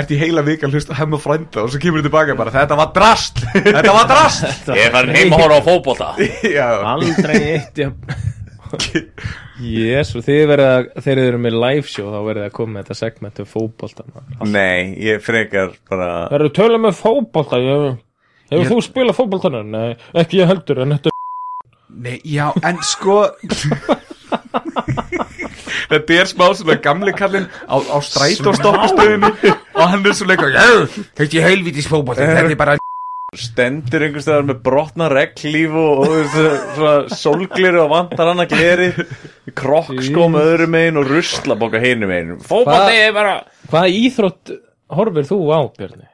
ert í heila vika að hlusta hemma frænda og svo kemur þú tilbaka bara þetta var drast, þetta var drast
Ég er farin heim að horfa á fótbolta
já,
Aldrei eitt Jésu, þið verða þeir eru með live show þá verðið að koma með þetta segment um fótbolta maður.
Nei, ég frekar bara
Það eru tölum með fótbolta ég, Hefur þú spilað fótboltana? Nei, ekki ég heldur en þetta er
Nei, já, en sko Þetta er smá svona gamli kallinn á, á strætóstoppistöðinu og hann er svona eitthvað "Já, Þetta er heilvítis fótbolti, þetta er bara
stendur einhvers staðar með brotna reglíf og, og þú veist, svona sólgliru og vantar hann að gleri krokkskóm öðrum megin og ruslabokka hinum megin fótbolti er bara
Hvaða íþrótt horfir þú á, Björni?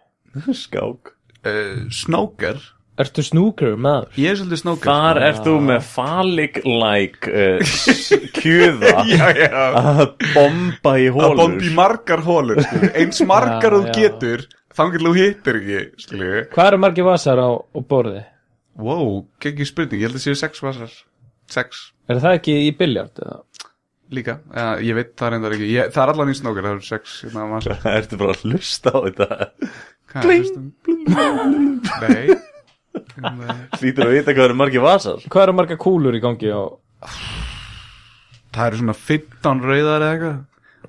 skák
uh, Snókar,
Ertu snúkur maður?
ég er svolítið snókar
þar ert þú með falik-like uh, kjöða
já, já,
að bomba í
að bomba
hólur
í margar hólur skilur. eins margar
Já,
þú
já.
getur þangar þú hittir ekki skilur.
Hvað eru margir vasar á, á borði?
Wow, ekki spurning, ég held að séu sex vasar sex
Er það ekki í biljart? eða?
líka, uh, ég veit það reyndar ekki ég, það er allan í snókar, það eru sex hérna, vasar
ertu bara að hlusta á þetta
Hvað er hlustum? Nei
hlýtur að vita hvað eru margir vasar
Hvað eru margar kúlur í gangi á
Það eru svona 15 rauðar eða eitthvað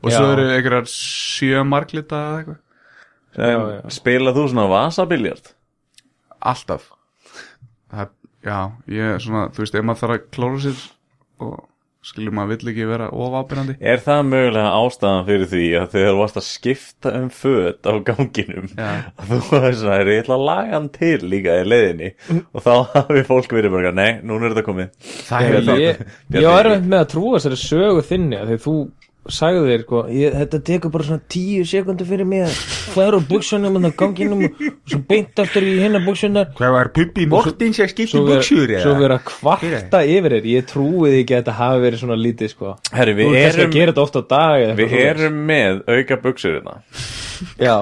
Og
Já.
svo eru einhverjar sjö marglita eða eitthvað
Já, já.
En spila þú svona vasabiljart
Alltaf það, Já, ég er svona, þú veist, ef maður þarf að klóra sér Og skilur maður vill ekki vera ofábyrjandi
Er það mögulega ástæðan fyrir því að þegar þú varst að skipta um föt á ganginum
Já.
að þú varst svona, er ég ætla að laga hann til líka í leiðinni og þá hafi fólk verið bara, nei, núna er þetta komið
Það
er
er það
Ég,
Bjarni-
ég var erfitt með að trúa þessari sögu þinni af því þú sagði þér hvað ég, þetta tekur bara svona tíu sekundur fyrir mig að færa úr buksunum og það ganginum og svo beint aftur í hinna buksunar
Hvað var Puppi Mortins að skipta
svo vera, svo vera að kvarta yfir þér ég trúi því ekki að þetta hafi verið svona lítið sko.
Herri,
þú
við
er kannski að
erum,
gera þetta oft á dag eða
við
eitthvað
erum með auka buksurina
svoleiðis. já,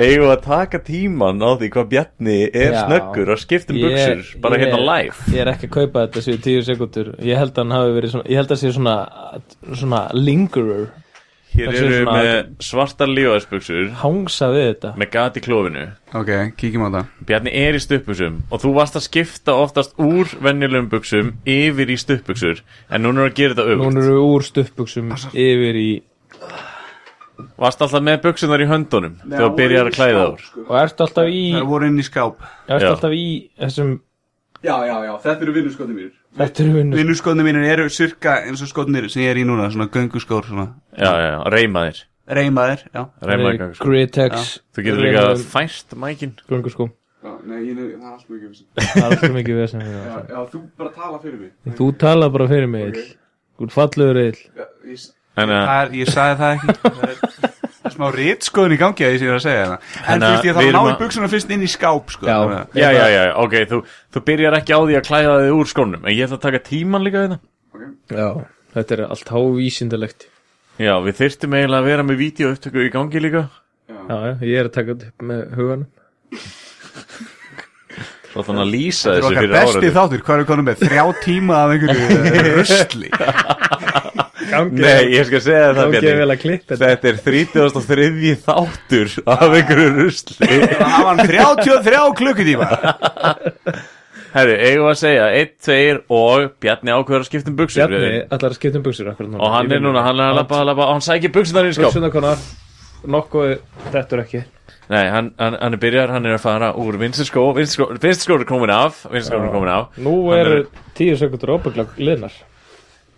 eigum við að taka tíman á því hvað Bjarni er
Já.
snöggur að skipta um buksur, bara
ég-
hérna live
ég er ekki að kaupa þetta séu tíu sekundur ég held að hann hafi verið svona ég held að sé svona, svona lingerer
Hér
Þessi er
eru við
svona-
með svartar lífaðsbuksur
hangsa við þetta
með gat í klófinu
Ok, kíkjum á það
Bjarni er í stuppbuksum og þú varst að skipta oftast úr venjulegum buksum yfir í stuppbuksur en núna er að gera þetta
Hún
auðvitað.
eru úr stuppbuksum yfir í
Varst alltaf með buksunar í höndunum þegar þú byrjar að klæða úr.
og ertu alltaf í,
Það voru inn í skáp
ertu
Já.
alltaf í þessum
Já, já, já, þetta eru vinnuskotnir mínir
þetta eru vinnu
Vinnuskotnir mínir eru cirka eins og skotnir sem ég er í núna, svona gönguskór svona.
Já, já, já, reyma þér.
Reymaðir, já
Reyma þér gangur.
Gritex
Þú getur líka fært mækin.
grungu sko
Nei, ég, það er allt mjög gefis
það er svo mikið við þessum
Já, þú bara tala fyrir mig
þú tala bara fyrir mig okay. þú er fallegur eil
Þannig að
Það er, ég sagði það ekki Það er- það er smá rítskoðun í gangi að ég sé að segja það En
Þannig
þú
að
veist, ég
við
þarf
erum
að ná í
að-
buksuna fyrst inn í skáp sko.
Já.
Þannig að-
Já, já, já, já, ok, þú, þú byrjar ekki á því að klæða þig úr skónum En ég ætla að taka tíman líka hérna. við það
já þetta er allt hávísindalegt
Já, við þyrftum eiginlega að vera með vídeoupptöku í gangi líka
já já ég er að taka þetta upp með huganum
Þú ætla hann að lýsa
Þetta
þessu
er okkar
fyrir
besti
áraðu
þáttur, hvað erum við konum með? Þrjá tíma af einhverju eh, rusli
Nei, ég skal segja þér það,
gangi er vel
Bjarni
að klippa þetta
Þetta er 33. þáttur af einhverju rusli
Það um hafa hann 33 klukkutíma
Herru, eigum við að segja 1, 2 og Bjarni ákveður að skipta um buksur
Bjarni ætlar að skipta um buksur akkurat núna
Og hann er núna, hann er að labba, að labba Og hann sækir buksunar í skáp
buksuna konar nokkuð þetta er ekki
Nei, hann, hann, hann er byrjar, hann er að fara úr vinstri skó Vinstri skó, vinstri skó er komin af Vinstri skó er komin af
nú
Hann
eru tíu sekundur óbygglag liðnar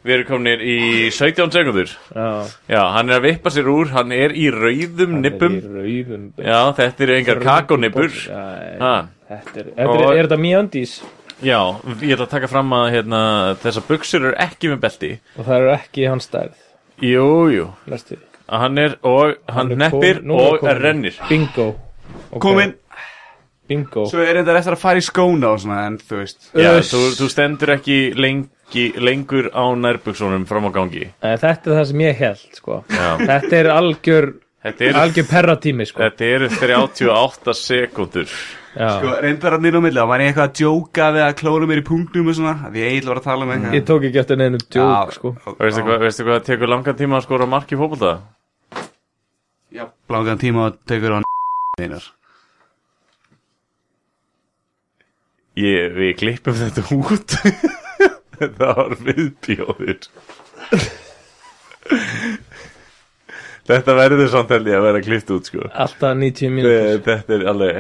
Við erum komin í 17 sekundur
já
Já, hann er að vippa sér úr, hann er í rauðum nippum
Í rauðum
Já, þetta eru engar kakonippur
Æ,
Ha,
Þetta er, þetta er,
Og-
er þetta mjöndís
Já, ég ætla að taka fram að hérna, þessar buksur eru ekki með belti
og það eru ekki í hans stærð
Jú, jú,
Næstu.
hann er og hann,
er
neppir
kominn- nú
og
er kominn.
rennir
Bingo okay.
Komin,
Bingo
svo er þetta eftir að fara í skóna og svona, en þú veist
Já,
Uss.
þú, þú stendur ekki lengi, lengur á nærbuksunum fram á gangi
Eh, Þetta er það sem ég held sko.
Já.
Þetta er algjör
Þetta eru,
algjör perratími sko
þetta eru 38 sekúndur
Já.
Sko, reyndar að nýra á milli, þá var ég eitthvað að djóka við að klóra mér í punktum og svona, af því ég ætla að vera
um
að tala með
ég tók ekki eftir neinu djók sko
Og veistu hvað, veistu hvað það tekur langan tíma að skora mark í fótbolta?
Langan tíma að tekur á neinar.
Ég, við klippum þetta út Þetta var viðbjóður Þetta verður samt held ég að vera klippt út sko
alltaf 90 mínútur
Þetta er alveg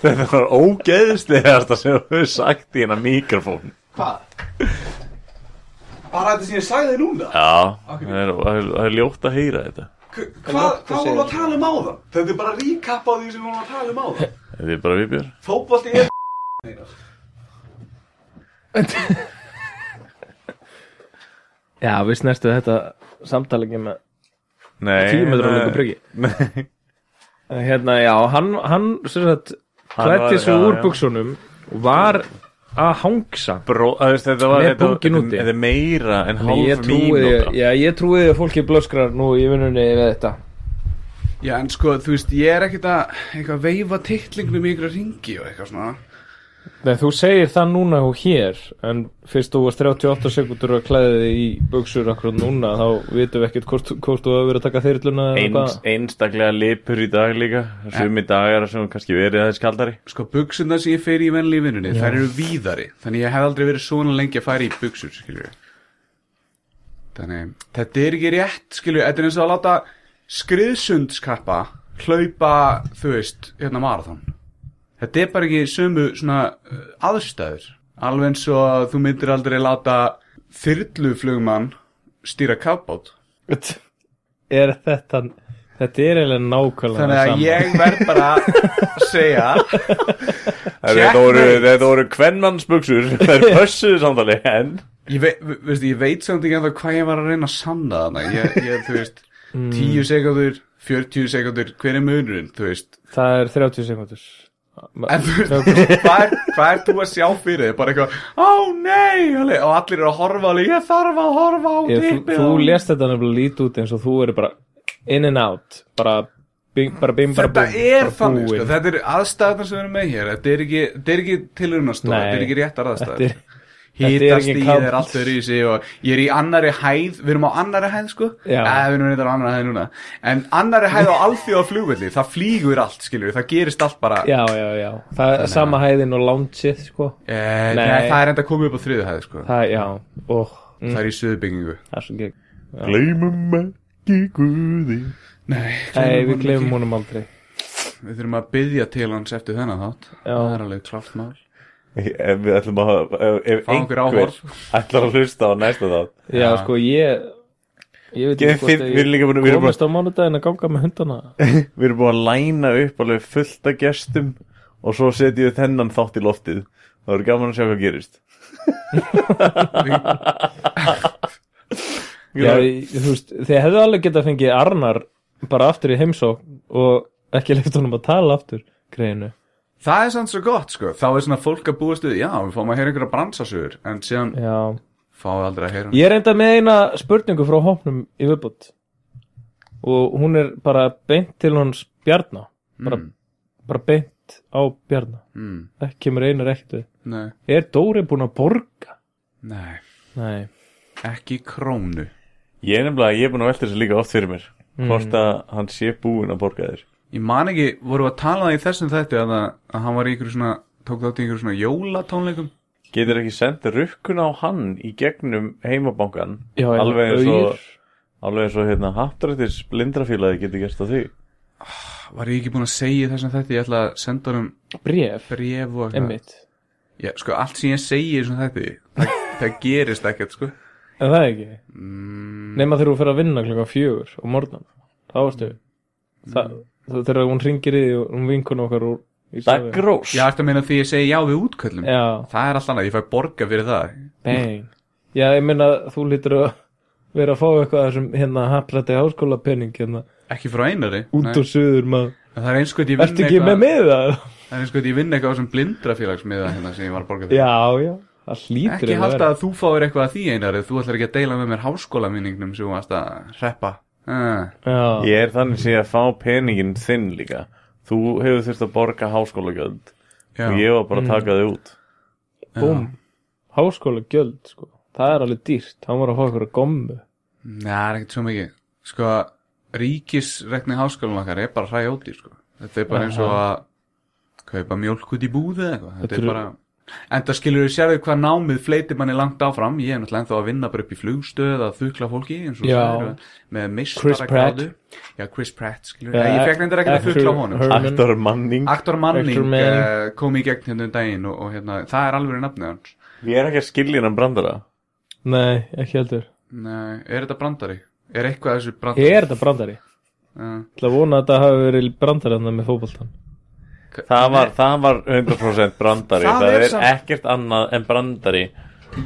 Þetta var ógeðslegasta sem þú hefur sagt í hérna mikrofón
Bara þetta sem ég sagði þið núna,
Já, það er, það er- það er ljótt að heyra þetta
hvað, hvað vorum við að tala um á það? Þetta er bara recap á því sem við vorum að tala um á það.
Þetta er bara viðbjör
Fótbolti er
já við snertum þetta samtali ekki með
Nei,
tíumetra
nei.
lungu bryggi
Nei.
En hérna já hann, hann sem sagt
var-
klætti svo
já,
úr
já.
buksunum og var að hangsa
Bró, að, veist, þetta var
Með
þetta,
bókin
þetta-
úti.
þetta er meira en
ég
hálf
trúi
mínúta
já ég trúi að fólki blöskrar nú í vinnunni við þetta
Já, en sko, þú veist, ég er ekkert að eitthvað veifa titlingnum í ykkur ringi og eitthvað svona.
Nei, þú segir það núna og hér en fyrst þú varst 38 sekundur að klæði þig í buksur akkur núna þá vitum við ekkert hvort, hvort þú hefur verið að taka þyrluna eða
Eins,
hvað.
einstaklega lipur í dag líka sumi dagar sem hefur kannski verið aðeins kaldari
Sko, buksuna sem ég fer í venli í vinnunni, þær eru víðari. Þannig ég hef aldrei verið svona lengi að fara í buksur, skiljur við. Þannig, þetta er ekki rétt, skiljur við, þetta er eins og að láta skriðsundskappa hlaupa, þú veist, hérna marathon. Þetta er bara ekki sömu svona uh, aðstæður. Alveg eins og að þú myndir aldrei láta þyrluflugmann stýra kappbót.
er þetta þetta er eiginlega nákvæmlega
Þannig að
sama.
ég verð bara að segja
Þetta voru, þetta voru kvennmannsbuksur það er pössuðu samtali en
Ég, ve ve veistu, ég veit samt ekki ennþá hvað ég var að reyna að sanna þarna ég, ég, Þú veist,
Mm.
10 sekundur, 40 sekundur, hver er munurinn, þú veist
það er 30 sekundur
En þú veist, hvað er, hvað er þú að sjá fyrir þig? Bara eitthvað, ó nei, alveg, og allir eru að horfa alveg, ég þarf að horfa á
ég, þú,
tippið
þú
á-
lést þetta nefnilega lít út eins og þú eru bara in and out bara bing, bara bing, bara
Þetta
búm,
er
bara
þannig, sko,
búin.
þetta er aðstæðan sem við erum með hér Þetta er ekki, þetta er ekki tilhörunastóð,
Nei,
þetta er ekki réttar
þetta
aðstæðar
er, þetta er
Hítast
ekki
í
kalt.
þeir allt verið í sig og ég er í annari hæð, við erum á annari hæð sko
Já.
Eða, við erum reyndar á annari hæð núna En annari hæð á alþjóða flugvelli, það flýgur allt skilur, það gerist allt bara
já, já, já, það er sama hæðin og loungeið sko,
Eh, nei.
Nei.
það er enda komið upp á þriðu hæð sko
það, já og, mm,
Það er í söðbyggingu
það er svo gegn
gleymum ekki guði
Nei,
Nei, við
honum
glemum
ekki.
honum aldrei
Við þurfum að byggja til hans eftir þennan þátt Það
Já,
er alveg klart mál
ef við ætlum að ef, ef
Fá okkur
einhver
áhorf.
ætlar að hlusta á næsta þátt
já sko ég Ég veit
Ég-
ekki hvort
þið- við erum líka búin-
að
við
ég
erum
komast á mánudaginn að ganga með hundana
við erum búin að læna upp alveg fullt af gestum og svo setjum við þennan þátt í loftið það verður gaman að sjá hvað gerist
Já, ég- þú veist, þið hefðu alveg getað fengið Arnar bara aftur í heimsókn og ekki leift honum að tala aftur greinu
Það er samt svo gott sko, þá er svona fólk að búast við, já, við fáum að heyra einhverja bransasögur, en síðan
Já,
fáum við aldrei að heyra hana.
ég er enda með eina spurningu frá hópnum í viðbútt og hún er bara beint til hans Bjarna bara,
Mm.
bara beint á Bjarna
Mm,
ekki kemur einar ekkert við
nei,
Er Dóri búin að borga?
nei,
Nei
ekki krónu.
Ég er nefnilega, ég er búin að velta þessu líka oft fyrir mér Hvort að hann sé búinn að borga þér
Ég man ekki, vorum við að tala um það í þessum þætti að, það- að hann var í ykkur svona, tók þátt í ykkur svona jólatónleikum?
Getur ekki senda rukkuna á hann í gegnum heimabankan
Já, já,
Alveg eins og-
auður.
Alveg eins og hérna hattrættis blindrafélagi getur gert á því
Var ég ekki búin að segja í þessum þætti, ég ætla að senda honum
Bréf,
bref og eitthvað.
emmitt
Já, sko, allt sem ég segi í þessum þætti, það, það gerist ekkert, sko. Mm.
En það ekki Nefna þegar þú fyrir að vinna klokka fjögur og morgnan Þá varstu
Mm.
Þa, Það þegar hún ringir í því og hún vinkun okkar úr í starfi.
Dagrós
Ég ætla að meina því ég segi já við útköllum.
Já,
Það er allt annað, ég fæ borga fyrir það.
bang Já, ég meina þú lítur að vera að fá eitthvað af þessum hérna haplætti háskóla penning hérna
Ekki frá einari.
út
nei.
og suður maður
En Það er eins og ég vinn
Ertu ekki með með það?
Það er eins og ég vinn eitthvað á þessum blindrafélagsmiða hérna sem ég var að borga fyrir.
Já, já það hlýtur
Ekki
eiginlega að
halda
vera.
að þú fáir eitthvað að því einar Þú ætlar ekki að deila með mér háskólaminningum sem þú varst að hreppa uh,
Já.
Ég er þannig sé að fá peningin þinn líka Þú hefur þurft að borga háskólagjöld
Já.
og ég var bara að taka þig út
Búm, háskóla gjöld sko. það er alveg dýrt, hann var að fá ykkur að gommu
Nei, það er ekkert svo mikið Sko, ríkisrekni háskólan okkar er bara hræjóti sko. Þetta er bara eins og að kaupa mjólk út í búði eða eitthvað Þetta
Þetta
er
eru-
bara En það skilur við sérðu hvað námið fleiti manni langt áfram Ég er náttúrulega ennþá að vinna bara upp í flugstöð að þukla fólki eins og
Já.
sagðir, með
Chris Pratt. Eh,
mistaragráðu Já, Chris Pratt skilur
Já,
við Ég fekk nefndir ekki að
Actor
þukla á honum
Herman.
Aktor manning
Aktor
Actor
Manning
Manning.
uh, kom í gegn hérna um daginn og, og hérna, það er alveg nafnið hans
Ég er ekki að skilja hennan brandara
Nei, ekki heldur
Nei, er þetta brandari? Er eitthvað af þessu brandari?
Er þetta brandari?
Uh,
Ég ætla að vona að þetta hafi verið brandari þarna með fótboltan
Það var, það var 100% brandari
Það
Það,
er
er,
samt-
ekkert annað en brandari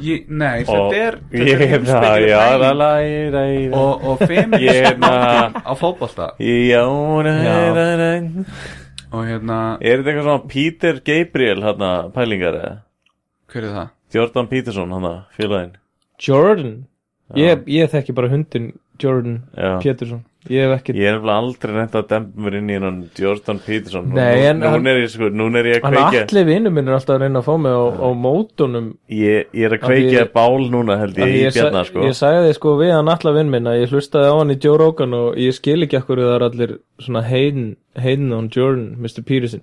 ég, nei,
og
þetta er þetta
ég
er
er það
heimspekileg
Já,
pæling.
það læra í það
og, og feminism
Ég er
hérna-
það
á fótbolta
Já,
Já.
ræ, ræ, ræ.
og hérna,
Er þetta eitthvað svona Peter Gabriel hana, pælingar eða?
hver er það?
Jordan Peterson hana, félaginn
Jordan? Ég, ég þekki bara hundin Jordan
Já.
Pétursson Ég hef ekki,
Ég er nefnilega aldrei nefnt að dempa mér inn í hennan Jordan Peterson
Nei,
nú,
en
nú,
hann-
er ég, sko, nú er ég að
hann
kveikja
allir vinnu minn er alltaf að reyna að fá mig á, á mótunum
ég, ég er að
Af því-
kveikja bál núna held
Af
ég
því
í
sa-
bjarnar sko
ég sagði sko við hann allar vinn minn að ég hlustaði á hann í Joe Rogan og ég skil ekki akkur það er allir svona Hayden, Hayden on Jordan, Mr. Peterson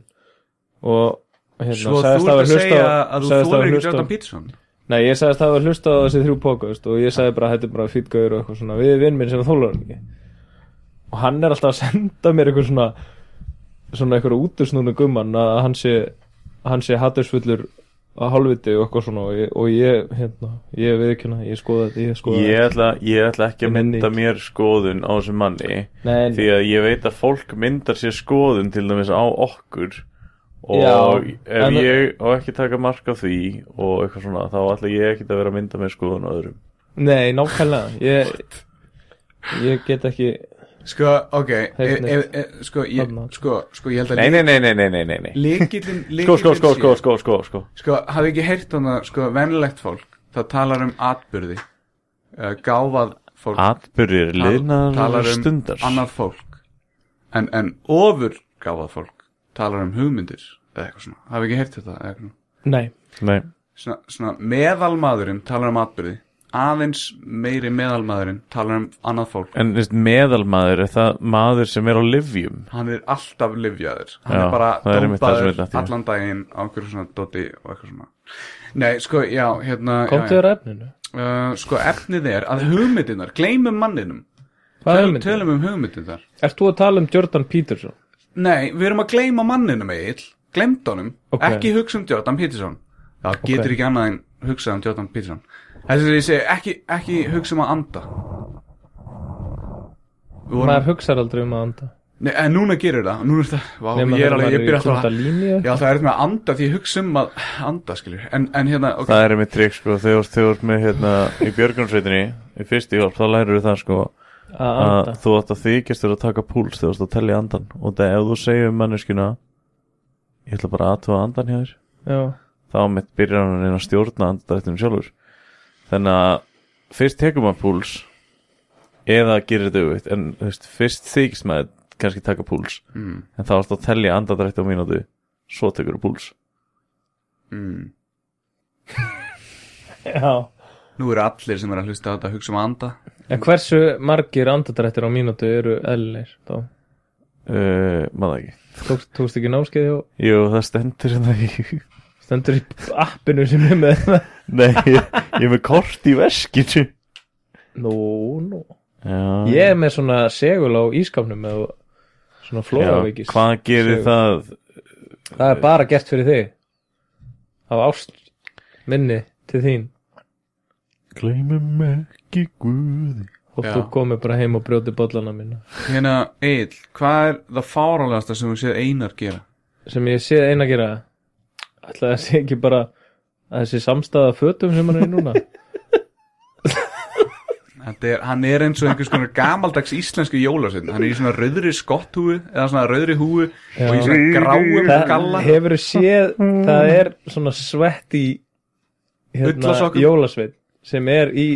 og hérna,
Svo þú
sagðist
ert að
hafa hlustað-
segja að þú
sagðist hafa
þólar ekki
hlustað-
Jordan Peterson
Nei, ég sagðist að það var hlustað á þessi þrjú podcast og ég sagði bara að þetta er bara fýtgauður og eitthvað svona við erum vinn minn sem þólar hann ekki og hann er alltaf að senda mér eitthvað svona svona eitthvað útusnúna gumman að hann sé hann sé hattursfullur að halviti og eitthvað svona og ég, og ég hérna, ég við ekki hérna, ég skoða þetta, ég skoða
ég ætla, ég ætla ekki
Ég
að
nenni
mynda
ekki.
mér skoðun á þessum manni
þetta Nei,
því að ég veit að fólk myndar sér skoðun til dæmis á okkur og
Já,
ef
en-
ég á ekki taka mark á því og eitthvað svona þá ætla ég ekki að vera að mynda mér skoðun á öðrum
nei, nákvæmlega ég, ég get ekki
sko, ok e,
Heyrnir.
e, e, sko, ég,
Þarna.
sko, sko, ég held
nei,
að
nei, nei, nei, nei, nei, nei, nei.
líkillin
Sko, sko, sko, sko, sko, sko, sko
sko, hafði ekki heyrt hann að sko, venlegt fólk, það talar um atbyrði uh, gáfað fólk
atbyrðir
tal-
liðnar
talar um
stundar
annað fólk en, en ofur gáfað fólk talar um hugmyndir eða eitthvað svona, hafði ekki heyrt þetta eða eitthvað svona?
nei,
nei,
svona, svona meðalmaðurinn talar um atbyrði aðeins meiri meðalmaðurinn talar um annað fólk
en veist, meðalmaður er það maður sem er á livjum
hann er alltaf livjaður hann
Já,
er bara
það er einmitt það sem
dópaður
ég datt í.
allan daginn á einhverju svona doti og eitthvað svona nei, sko, já, hérna
komtu
já,
þér að efninu
já. Uh, sko, efnið er að hugmyndinar gleymum manninum,
Hvað er
Tölum-
hugmyndin?
tölum um hugmyndinar
Ert þú að tala um Jordan Peterson?
nei, við erum að gleyma manninum eill glemt honum,
Ok.
ekki hugsa um Jordan Peterson það getur ekki annað en hugsa um Jordan Peterson þess að ég segi, ekki, ekki hugsa um að anda Við vorum-
Maður hugsar aldrei um að anda
Nei, en núna gerir það, núna er það, vá,
Nema
ég er
þegar
alveg,
maður um
ég
er í
byrja alltaf að,
kundalíni eða
ég alltaf er með að anda því ég hugsa um að anda, skiljur, en, en hérna, ok,
Það er einmitt trikk sko, þegar þú ert með hérna í björgunsveitinni, í fyrstu hjálp, þá lærir það sko
að
að
anda
þú átt að þykjast þér að taka púls þegar þú ert að tellja andan og það ef þú segir manneskuna ég ætla bara aðtöða andan hjá þér
Já,
þá mitt byrjar hann að reyna að stjórna andadrættinum sjálfur þannig að fyrst tekur maður púls eða gerir þetta auðvitt en þú veist, fyrst þykist maður kannski taka púls mm. en þá ertu að tellja andadrætti á mínútu svo tekur þú púls
Mm.
já
nú eru allir sem er að hlusta á þetta að hugsa um að anda,
En hversu margir andadrættir á mínútu eru eðlilegir þá?
uh, maður það ekki
Tókst, tókst ekki námskeið og
Jú, það stendur hérna í
stendur í appinu sem er með það
Nei, ég, ég er með kort í veskinu
Nú, nú
Já,
Ég er með svona segul á ískapnum eða svona
já,
flóðavíkis
Hvað gerir
Sögur.
það?
Það er bara gert fyrir þig Af ást minni til þín
Gleimum ekki guði
og
Já.
þú komir bara heim og brjóti bollana mína
hérna, Egil, hvað er það fárálegasta sem þú séð einar gera?
sem ég sé eina gera ætla að sé ekki bara að þessi samstæða fötum sem hann er í núna
Þetta er, hann er eins og einhvers konar gamaldags íslensku jólasinn, hann er í svona rauðri skotthúi, eða svona rauðri húi og í svona gráum
Það
galla,
hefur séð, það er svona svett í hérna,
Ullasokkum.
jólasveit sem er í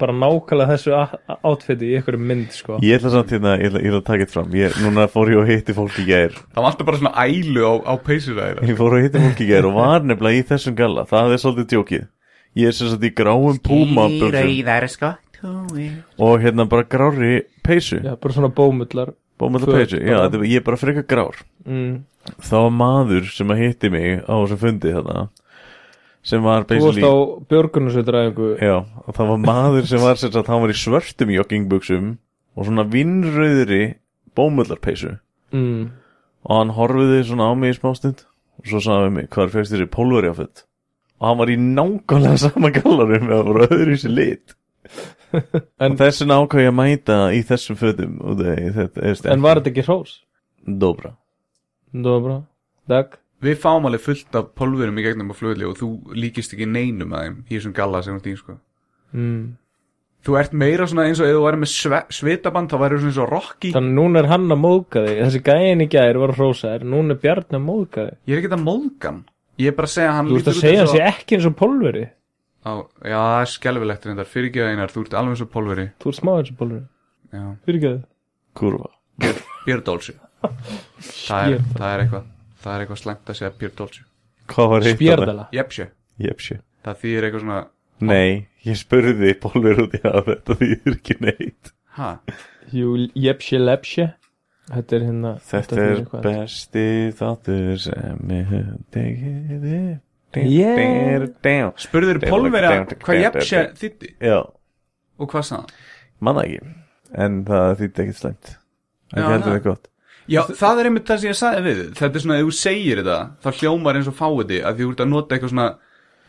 bara nákvæmlega þessu a- átfiti í ykkur mynd sko
Ég ætla samt hérna, ég ætla, ég ætla að taka eitt fram ég, Núna fór ég og hitti fólk í gær
Það var alltaf bara svona ælu á, á peysir að þeirra
Ég fór og hitti fólk í gær og var nefnilega í þessum galla Það er svolítið djókið Ég er sem sagt í gráum púma Og hérna bara grári peysu
Já, bara svona bómullar
Bómalla
Föt
peysu, já,
bara.
þetta- ég er bara frekar grár
mm.
þá var maður sem að hitti mig á þessum fundi þarna sem var
Þú varst á
basically
björgunarsveitræðingu
já, og það var maður sem var sem sagt, hann var í svörtum joggingbuksum og svona vinnröðri bómullarpeysu
mm.
og hann horfiði svona á mig í smástund og svo sagði hann við mig hvað er fyrst þér í pólveri áfett og hann var í nákvæmlega sama gallarum eða bara öðru í sér lit en
En-
þessin ákvæði að mæta í þessum fötum og það, þetta, þetta,
En var þetta ekki hrós?
dobra
Dobra, dag
Við fáum alveg fullt af polverum í gegnum á flugli og þú líkist ekki neinum að þeim í þessum galla sem þú dýr sko
mm.
Þú ert meira svona eins og ef þú væri með sve, svitaband þá væri svona eins og Rocky
Þannig núna er hann að móðga þig Þessi gæin í gær var að hrósa þér Núna er Bjarni að móðga þig
Ég er ekki að móðgan Ég er bara að segja að hann
Þú veist
lítur út
að segja
eins
hann
og-
sé ekki eins og pólveri
Á, Já, það er skelfilegt reyndar Fyrirgeða einar, þú ert alveg eins og polveri
Þú ert smá eins og pólveri
Já,
Fyrirgjöðu
kurva
Björdólsi það, er- það er eitthvað Það er eitthvað slæmt að segja Björdólsi
hvað var hitt þarna?
Bjardala
Jepsi,
Jepsi.
það þýðir eitthvað svona
Nei, ég spurði Pólver út í að þetta þýðir ekki neitt
Ha,
Jepsi lepsi Þetta er hérna
Þetta
þýðir
er
eitthvað.
besti þáttur sem ég hef tekið upp.
Yeah.
Ding, ding.
spurður polveri að hvað jepsi þýtti
Já,
og hvað sagði hann?
manna ekki En það þýtti ekkert slæmt En
Já,
ég held að
já.
það er gott
Já, það er einmitt það sem ég sagði við þig. Þetta er svona, ef þú segir þetta þá hljómar eins og fáiði að því þú ert að nota eitthvað svona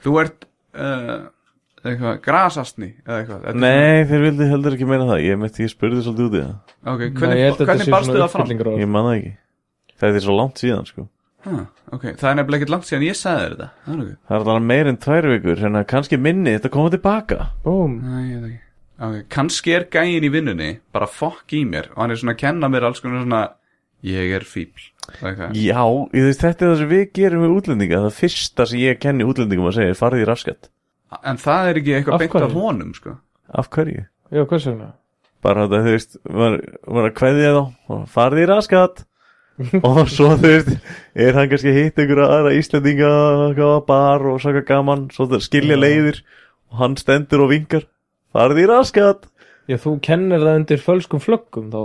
þú ert uh, eitthvað, grasastni eða eitthvað Þetta er
Nei, þeir vildi heldur ekki meina það Ég, mitt, ég spurði svolítið út í það
svona- Ok,
Nei, ég
hvernig,
held að þetta sé
hvernig barstu
svona
það fram?
uppfyllingarorð.
Ég manna ekki Þetta er svo langt síðan sko
Ha, ok, það er nefnilega ekkert langt síðan ég sagði þér þetta Það er ok,
Það er alveg meir en tvær vikur Hérna kannski minni þetta koma tilbaka
Búm
nei, ég veit ekki Ok, kannski er gæin í vinnunni bara fokk í mér og hann er svona að kenna mér alls konar svona ég er fíbl eða eitthvað.
Já, ég veist, þetta er það sem við gerum við útlendinga Það fyrsta sem ég kenni útlendingum að segja er farið í raskat
En það er ekki
Af
eitthvað beint af
hverju?
honum sko.
Af hverju?
Já, hvers vegna?
Bara þetta, þú veist, var, var að kveðja þá og farið í raskat og svo þú veist, er hann kannski að hitta einhverja aðra Íslendinga eitthvað á bar og saka gaman, svo það skilja leiðir og hann stendur og vingar farið í raskat
Já, þú kennir það undir fölskum flöggum þá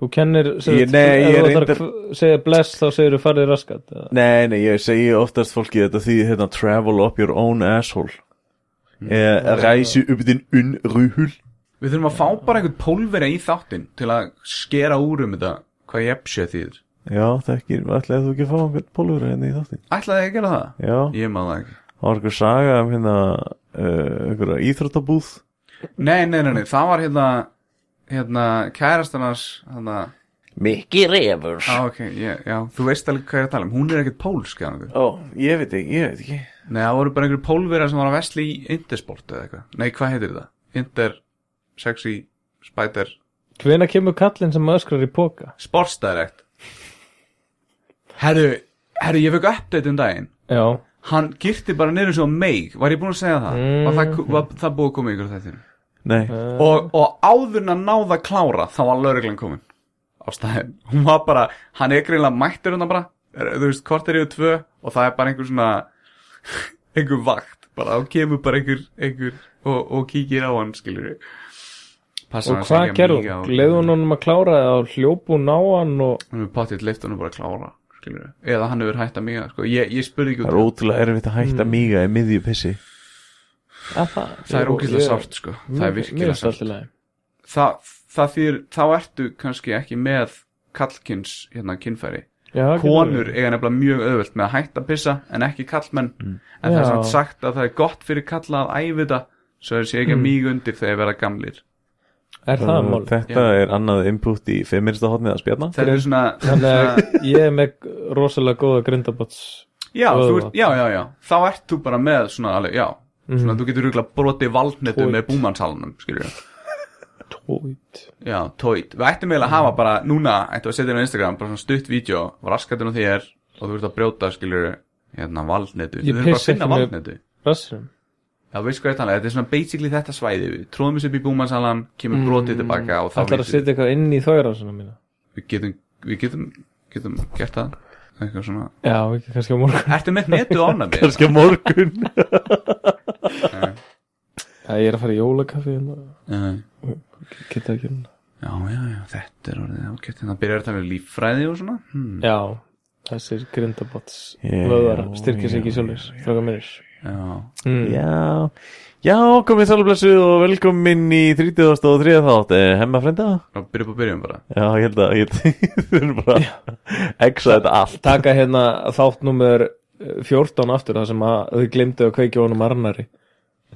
Þú kennir sem
Ég-
sagt,
nei,
ef
ég
þú
er
ætlar að
reyndar-
kv- segja bless þá segir þú farið raskat eða-
Nei, nei, ég segi oftast fólki þetta því hérna travel up your own asshole eh, Ræsi upp þinn unnruhul
Við þurfum að fá bara einhvern pólveri í þáttinn til að skera úr um þetta hvað jepsi þýðir
Já, þekkir, ætlaði þú ekki að fá einhvern pólfur henni í þáttin
Ætlaði ég að gera það?
Já,
Ég maður það ekki.
það var einhver saga um hérna uh, einhverja íþróttabúð
Nei, nei, nei, nei, það var hérna, hérna, kærastarnas, hérna,
Mikki refur
á, ok, ég, já, þú veist alveg hvað ég er að tala um, hún er ekkert pólsk, eða einhver.
Ó, ég veit ekki, ég veit ekki
Nei, það voru bara einhverjir pólverjar sem var að vesli í Intersport eða eitthvað. Nei, hvað heitir það? Inter, sexy, spider,
Hvenær kemur kallinn sem öskrar í póka?
sportsdirect. Herru, herru, ég fekk update um daginn.
Já,
Hann girti bara niður svo meig, var ég búinn að segja það? Var það, var það búið að koma ykkur þetta?
Nei,
og, og áður en að náða að klára þá var lauruglan komin á staðin, hún var bara, hann er greinlega mættur hérna bara, Er- þú veist, hvort er yfir tvö og það er bara einhver svona einhver vakt, bara þá kemur bara einhver, einhver og, og kíkir á hann skilur við Passa
og hvað gerðu? Gleðu hún honum að klára það og hljópu hún á hann og
hann er potið leift hann bara að klára skilur við, eða hann hefur hætt að miga sko. ég, ég spurði ekki
það
út,
er ótrúlega erfitt að hætta mm. míga í miðju pissi
að það
það er ógeðslega
Ég-
sárt sko. það
Mér-
er
mér
virkilega
finnst það
sárt
allt í lagi.
það, það þýr, þá ertu kannski ekki með kallkins hérna kynfæri
Já, það getur
konur
verið.
eiga nefnilega mjög auðvelt með að hætta að pissa en ekki kallmenn en það
Já.
er samt sagt að það er gott fyrir kalla að æfi þetta svo þeir sé ekki mm. mjög undir þegar þeir verða gamlir
Er það mál?
Þetta er annað input í feminista hotnið að spjarna
þeir eru svona,
Þannig
svona
að ég er með rosalega góða grindabots
já, þú
Vöðva.
ert, já, já, já, þá ert þú bara með svona alveg, já,
Mm.
svona þú getur rúglega brotið valdnetu
Tóit.
með búmannshalunum skilur við,
Tóit
já, tóit við ættum eiginlega að hafa bara, núna, ættum við að setja inn á Instagram bara svona stutt vídeo, raskatinn á þér og þú ert að brjóta, skilur við hérna, valdnetu,
Ég
við erum bara að
pissa
finna
ekki með-
valdnetu
Rassinum
Já, veist hvað ég talaði, þetta er svona basically þetta svæði við tróðum þessu upp í búmannsalan, kemur brotið tilbaka og þá
Ætlar Mm. að setja eitthvað inn í þóðarásuna mína
við getum, við getum, getum gert það eitthvað svona
Já, ekki kannski á morgun
Ertu með netu ánæmi?
kannski á morgun
Já, ég er að fara í jólakaffi hérna.
Já,
Geta ekki hérna
já, já, þetta er orðið ágætt þannig að byrja að tala um líffræði og svona hmm,
Já, þessir grindabots
Já,
Vöðar, styrkir sig ekki sjálfis Þrjóka minnir
Já,
mm.
já, já, komið sálblessuð og velkomin í 30. og 3. þátt eh, hemma frenda
þá byrja upp að byrja um bara
já, ég held að ég þau eru bara exa þetta allt
Taka hérna þáttnúmer 14 aftur Það sem að þau glimtu að kveikja honum Arnari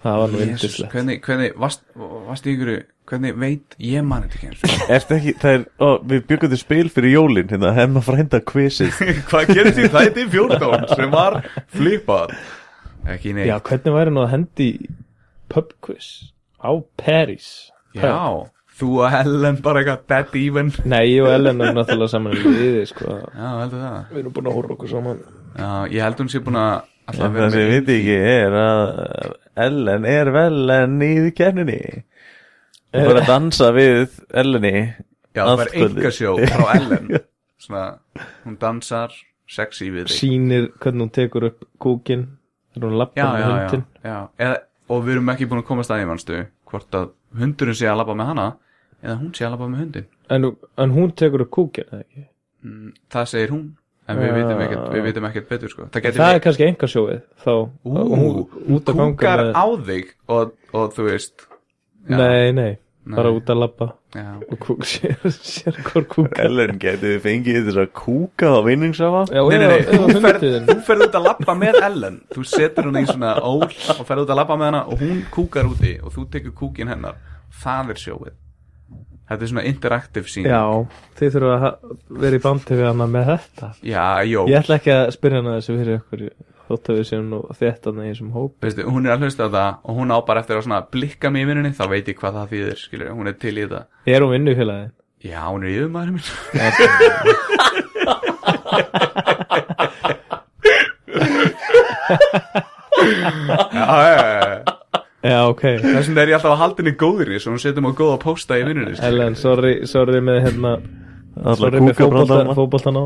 Það var nú
Jesus,
yndislegt
hvernig, hvernig, varst, varst í ykkur hvernig veit, ég man þetta ekki eins
Ertu ekki, það er, ó, við byggum til spil fyrir jólin hérna, hemma frænda quizið
Hvað gerist í þætti 14 sem var flipað? Ekki neitt
Já, hvernig væri nú að hendi í pub quiz á Paris
Já, þú og Helen bara eitthvað dead even
Nei, ég og Ellen erum náttúrulega saman í liði sko.
Já, heldur það
Við erum búin að horfa okkur saman
Já, ég held hún sé búin að alltaf
Það sem ég veit ekki er að Ellen er vel en í kenninni og bara að dansa við Ellenni
Já, það var
Afturkvöldi.
engasjó frá Ellen Svona, hún dansar sexy við þig
Sýnir hvernig hún tekur upp kúkin Þegar hún
Já,
lappar með
já, já,
hundin
já. Eða, Og við erum ekki búin að komast að í mannstu Hvort að hundurinn sé að labba með hana Eða hún sé að labba með hundin
en, en hún tekur upp kúkin eða ekki?
Mm, Það segir hún En við
Já.
vitum ekkert, við vitum ekkert betur sko Það getur
Það er kannski enga sjóið Þá hún
Ú,
út að ganga
kúkar
með
á þig og, og þú veist já,
Nei, nei, bara
Nei.
út að lappa
já.
Og kúk sér, sér hvort kúkar
Ellen getið þið fengið þess að kúka á vinningsafa
Já,
Nei, nei, nei,
eða
þú ferð
hundiðin
þú ferð út að lappa með Ellen Þú setur hún í svona ól og ferð út að lappa með hana og hún kúkar úti og þú tekur kúkin hennar Það er sjóið Þetta er svona interaktiv sín
Já, þið þurfa að ha- vera í bandi við hana með þetta
já jó,
Ég ætla ekki að spyrja hana þessu fyrir ykkur Þótt að við séum nú þetta í þessum hóp
Veistu, hún er að hlusta á það og hún á bara eftir að svona blikka mig í vinnunni þá veit ég hvað það þýðir, skilur, hún er til í þetta
Ég er hún vinnufélagi
Já, hún er yfirmaður minn Já, já, já, já
Já, ok
Þess vegna er ég alltaf að halda henni góðri Svo hún setjum á góða pósta í vinnunni skilur.
Ellen, sorry, sorry með hérna
Alltaf
Sorry með
kúka brandarana
fótboltan á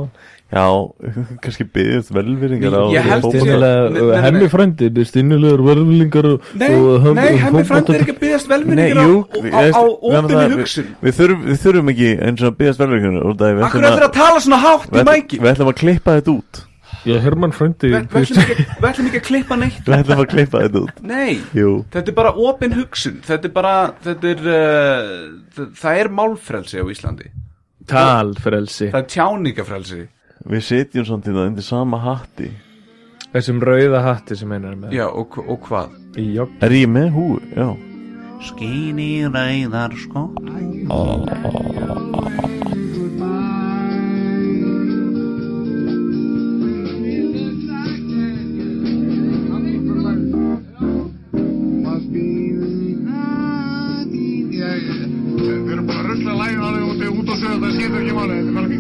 Já, kannski byggðist velvýringar á
Ég held
fótbolta.
ég- Nei, nei, nei.
Hemmi frændi, bestinnilegur verðlingar
Nei, nei, henni frændi er ekki að byggðast
um, Nei,
velminningar á,
jú,
á,
við-
á, á
við- við-
opinni
við-
hugsun
Við þurfum, við þurfum ekki eins og að byggðast velvýringar út af því við
Akkur
ætlum
er
að
þeirra að tala svona hátt í
við ætlum-
mæki
Við ætlum að klippa þetta út
Já, Herman frændi
Við við ætlum ekki- við ætlum ekki að klippa neitt
Við ætlum að klippa þetta út
Nei,
Jú,
þetta er bara opin hugsun Þetta er bara, þetta er uh, það, það er málfrelsi á Íslandi
Talfrelsi
Það er tjáningafrelsi
við setjum samt þetta undir sama hatti
Þessum rauða hatti sem einar er með
Já, og, hv- og hvað?
Í jogg
Er ég með húi? Já
Skinni rauðar sko
Must be the night. Við erum bara að rusla lægin alveg út, út á söðu, það skiptir ekki máli, þetta er bara fínt.